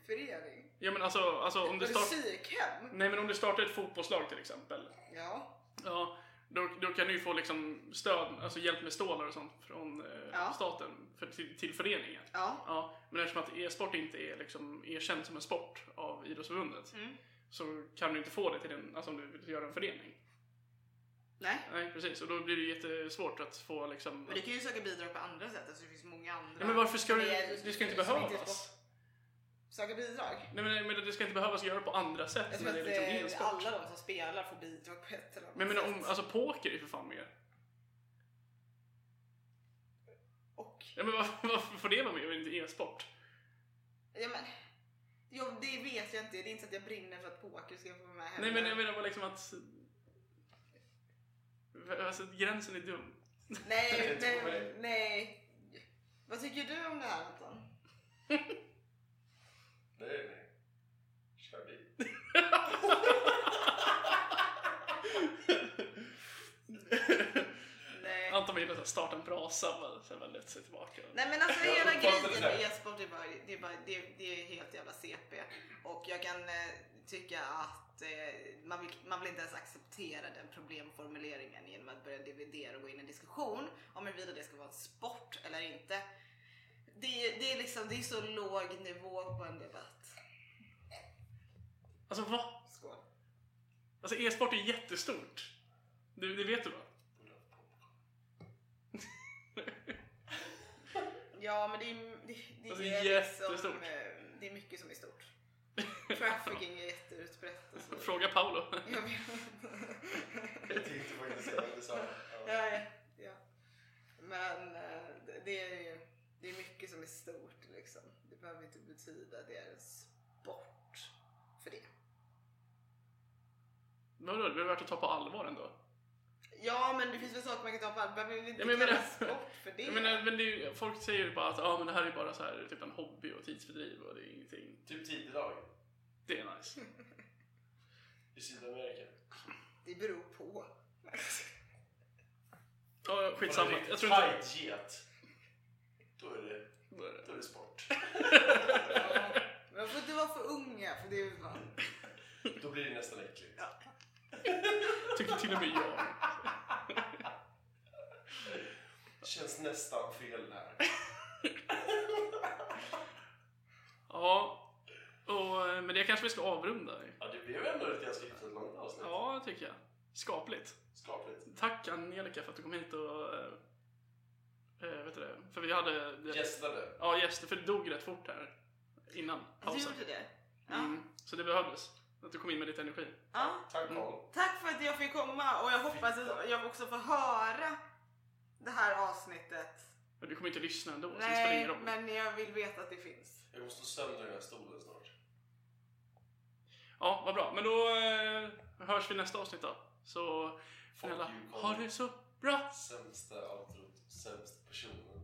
Förening.
Ja men alltså, alltså om du startar...
Musikhem.
Nej men om du startar ett fotbollslag till exempel.
Ja.
Ja, då, då ju, kan ju få liksom stöd, alltså hjälp med stålar och sånt från eh,
Ja.
staten för, till, till föreningen.
Ja.
Ja, men eftersom att e-sport inte är liksom erkänd som en sport av Idrottsförbundet
Mm.
så kan du inte få det till den, alltså om du vill göra en förening.
Nej.
Nej, precis. Och då blir det jättesvårt att få liksom...
Men du kan ju söka bidrag på andra sätt. Alltså det finns många andra.
Ja, men varför ska du...
Det är-
Det ska inte
som är
behövas.
sport. Söka bidrag?
Nej men, men det ska inte behövas göra på andra
Jag
sätt
tror
när
att
det är liksom
eh, alla
e-sport.
de som spelar får bidrag på ett eller annat
Men jag menar,
sätt.
om, alltså poker är ju för fan med.
Och,
Ja, men [laughs] varför, varför får det vara med och inte e-sport?
ja men, ja, det vet jag inte. Det är inte så att jag brinner för att poker ska få vara med
Nej
heller.
men jag menar bara liksom att... Alltså gränsen är dum. [laughs]
Nej,
Jag tror på
nej,
dig.
nej. Vad tycker du om det här Anton?
Nej, nej. Kör bil.
Nej.
Anton vill att starta en brasa men sen väl luta sig tillbaka.
Nej men alltså
Ja,
hela
vad
grejen
var det
med
där?
e-sport är bara, det är, bara det, det är helt jävla CP. Och jag kan eh, tycka att eh, man, vill, man vill inte ens acceptera den problemformuleringen genom att börja dividera och gå in i en diskussion om huruvida det ska vara en sport eller inte. Det, är- det är liksom, det är så låg nivå på en debatt.
Alltså vad?
Skål.
Alltså e-sport är jättestort. Du, det vet du va?
Ja men det är, det, det
Alltså,
är liksom,
jättestort.
eh, det är mycket som är stort. Trafficking är jätteutbrett och så.
Fråga Paolo. [laughs]
Jag vet.
Jag tänkte faktiskt säga detsamma. Ja.
Ja, ja, ja. Men eh, det- det är ju det är mycket som är stort liksom. Det behöver inte betyda att det är en sport för det.
Men vadå, det är värt att ta på allvar ändå.
Ja, men det finns väl saker man kan ta på allvar. Behöver vi inte
Ja, men jag
kalla
menar-
sport för det?
Jag menar, men det är, ju- folk säger ju bara att ah, men det här är bara så här, typ en hobby och tidsfördriv och det är ingenting.
Typ tidelag
Det är nice.
i Sydamerika.
Det beror på.
Ja, skitsamma.
Var det en
Jag tror inte...
riktigt get, då är det, då är det sport.
Ja. Men Man får inte vara för unga för det är ju fan.
Då blir det nästan äckligt.
Tycker till och med jag.
Känns nästan fel där.
Ja, och, eh, men det kanske vi ska avrunda.
Ja, det blev ändå ett ganska hyfsat långt avsnitt.
Ja, det tycker jag. Skapligt.
Skapligt.
Tack Angelica för att du kom hit och... eh, Eh, vet du det? För vi hade... vi-
Gästade.
Ja, gäster. För det dog rätt fort här innan
Du
pausen.
gjorde det? Ja.
Mm, så det behövdes. Att du kom in med lite energi.
ja.
Tack Carl.
Tack för att jag fick komma och jag hoppas att jag också får höra det här avsnittet.
Men du kommer inte lyssna ändå, så det spelar ingen
Nej,
roll.
men jag vill veta att det finns.
Jag måste sömna den här stolen snart.
Ja, vad bra. Men då eh, hörs vi nästa avsnitt då. Så snälla,
you, Carl.
ha det så bra!
Sämsta outrot, sämst personen.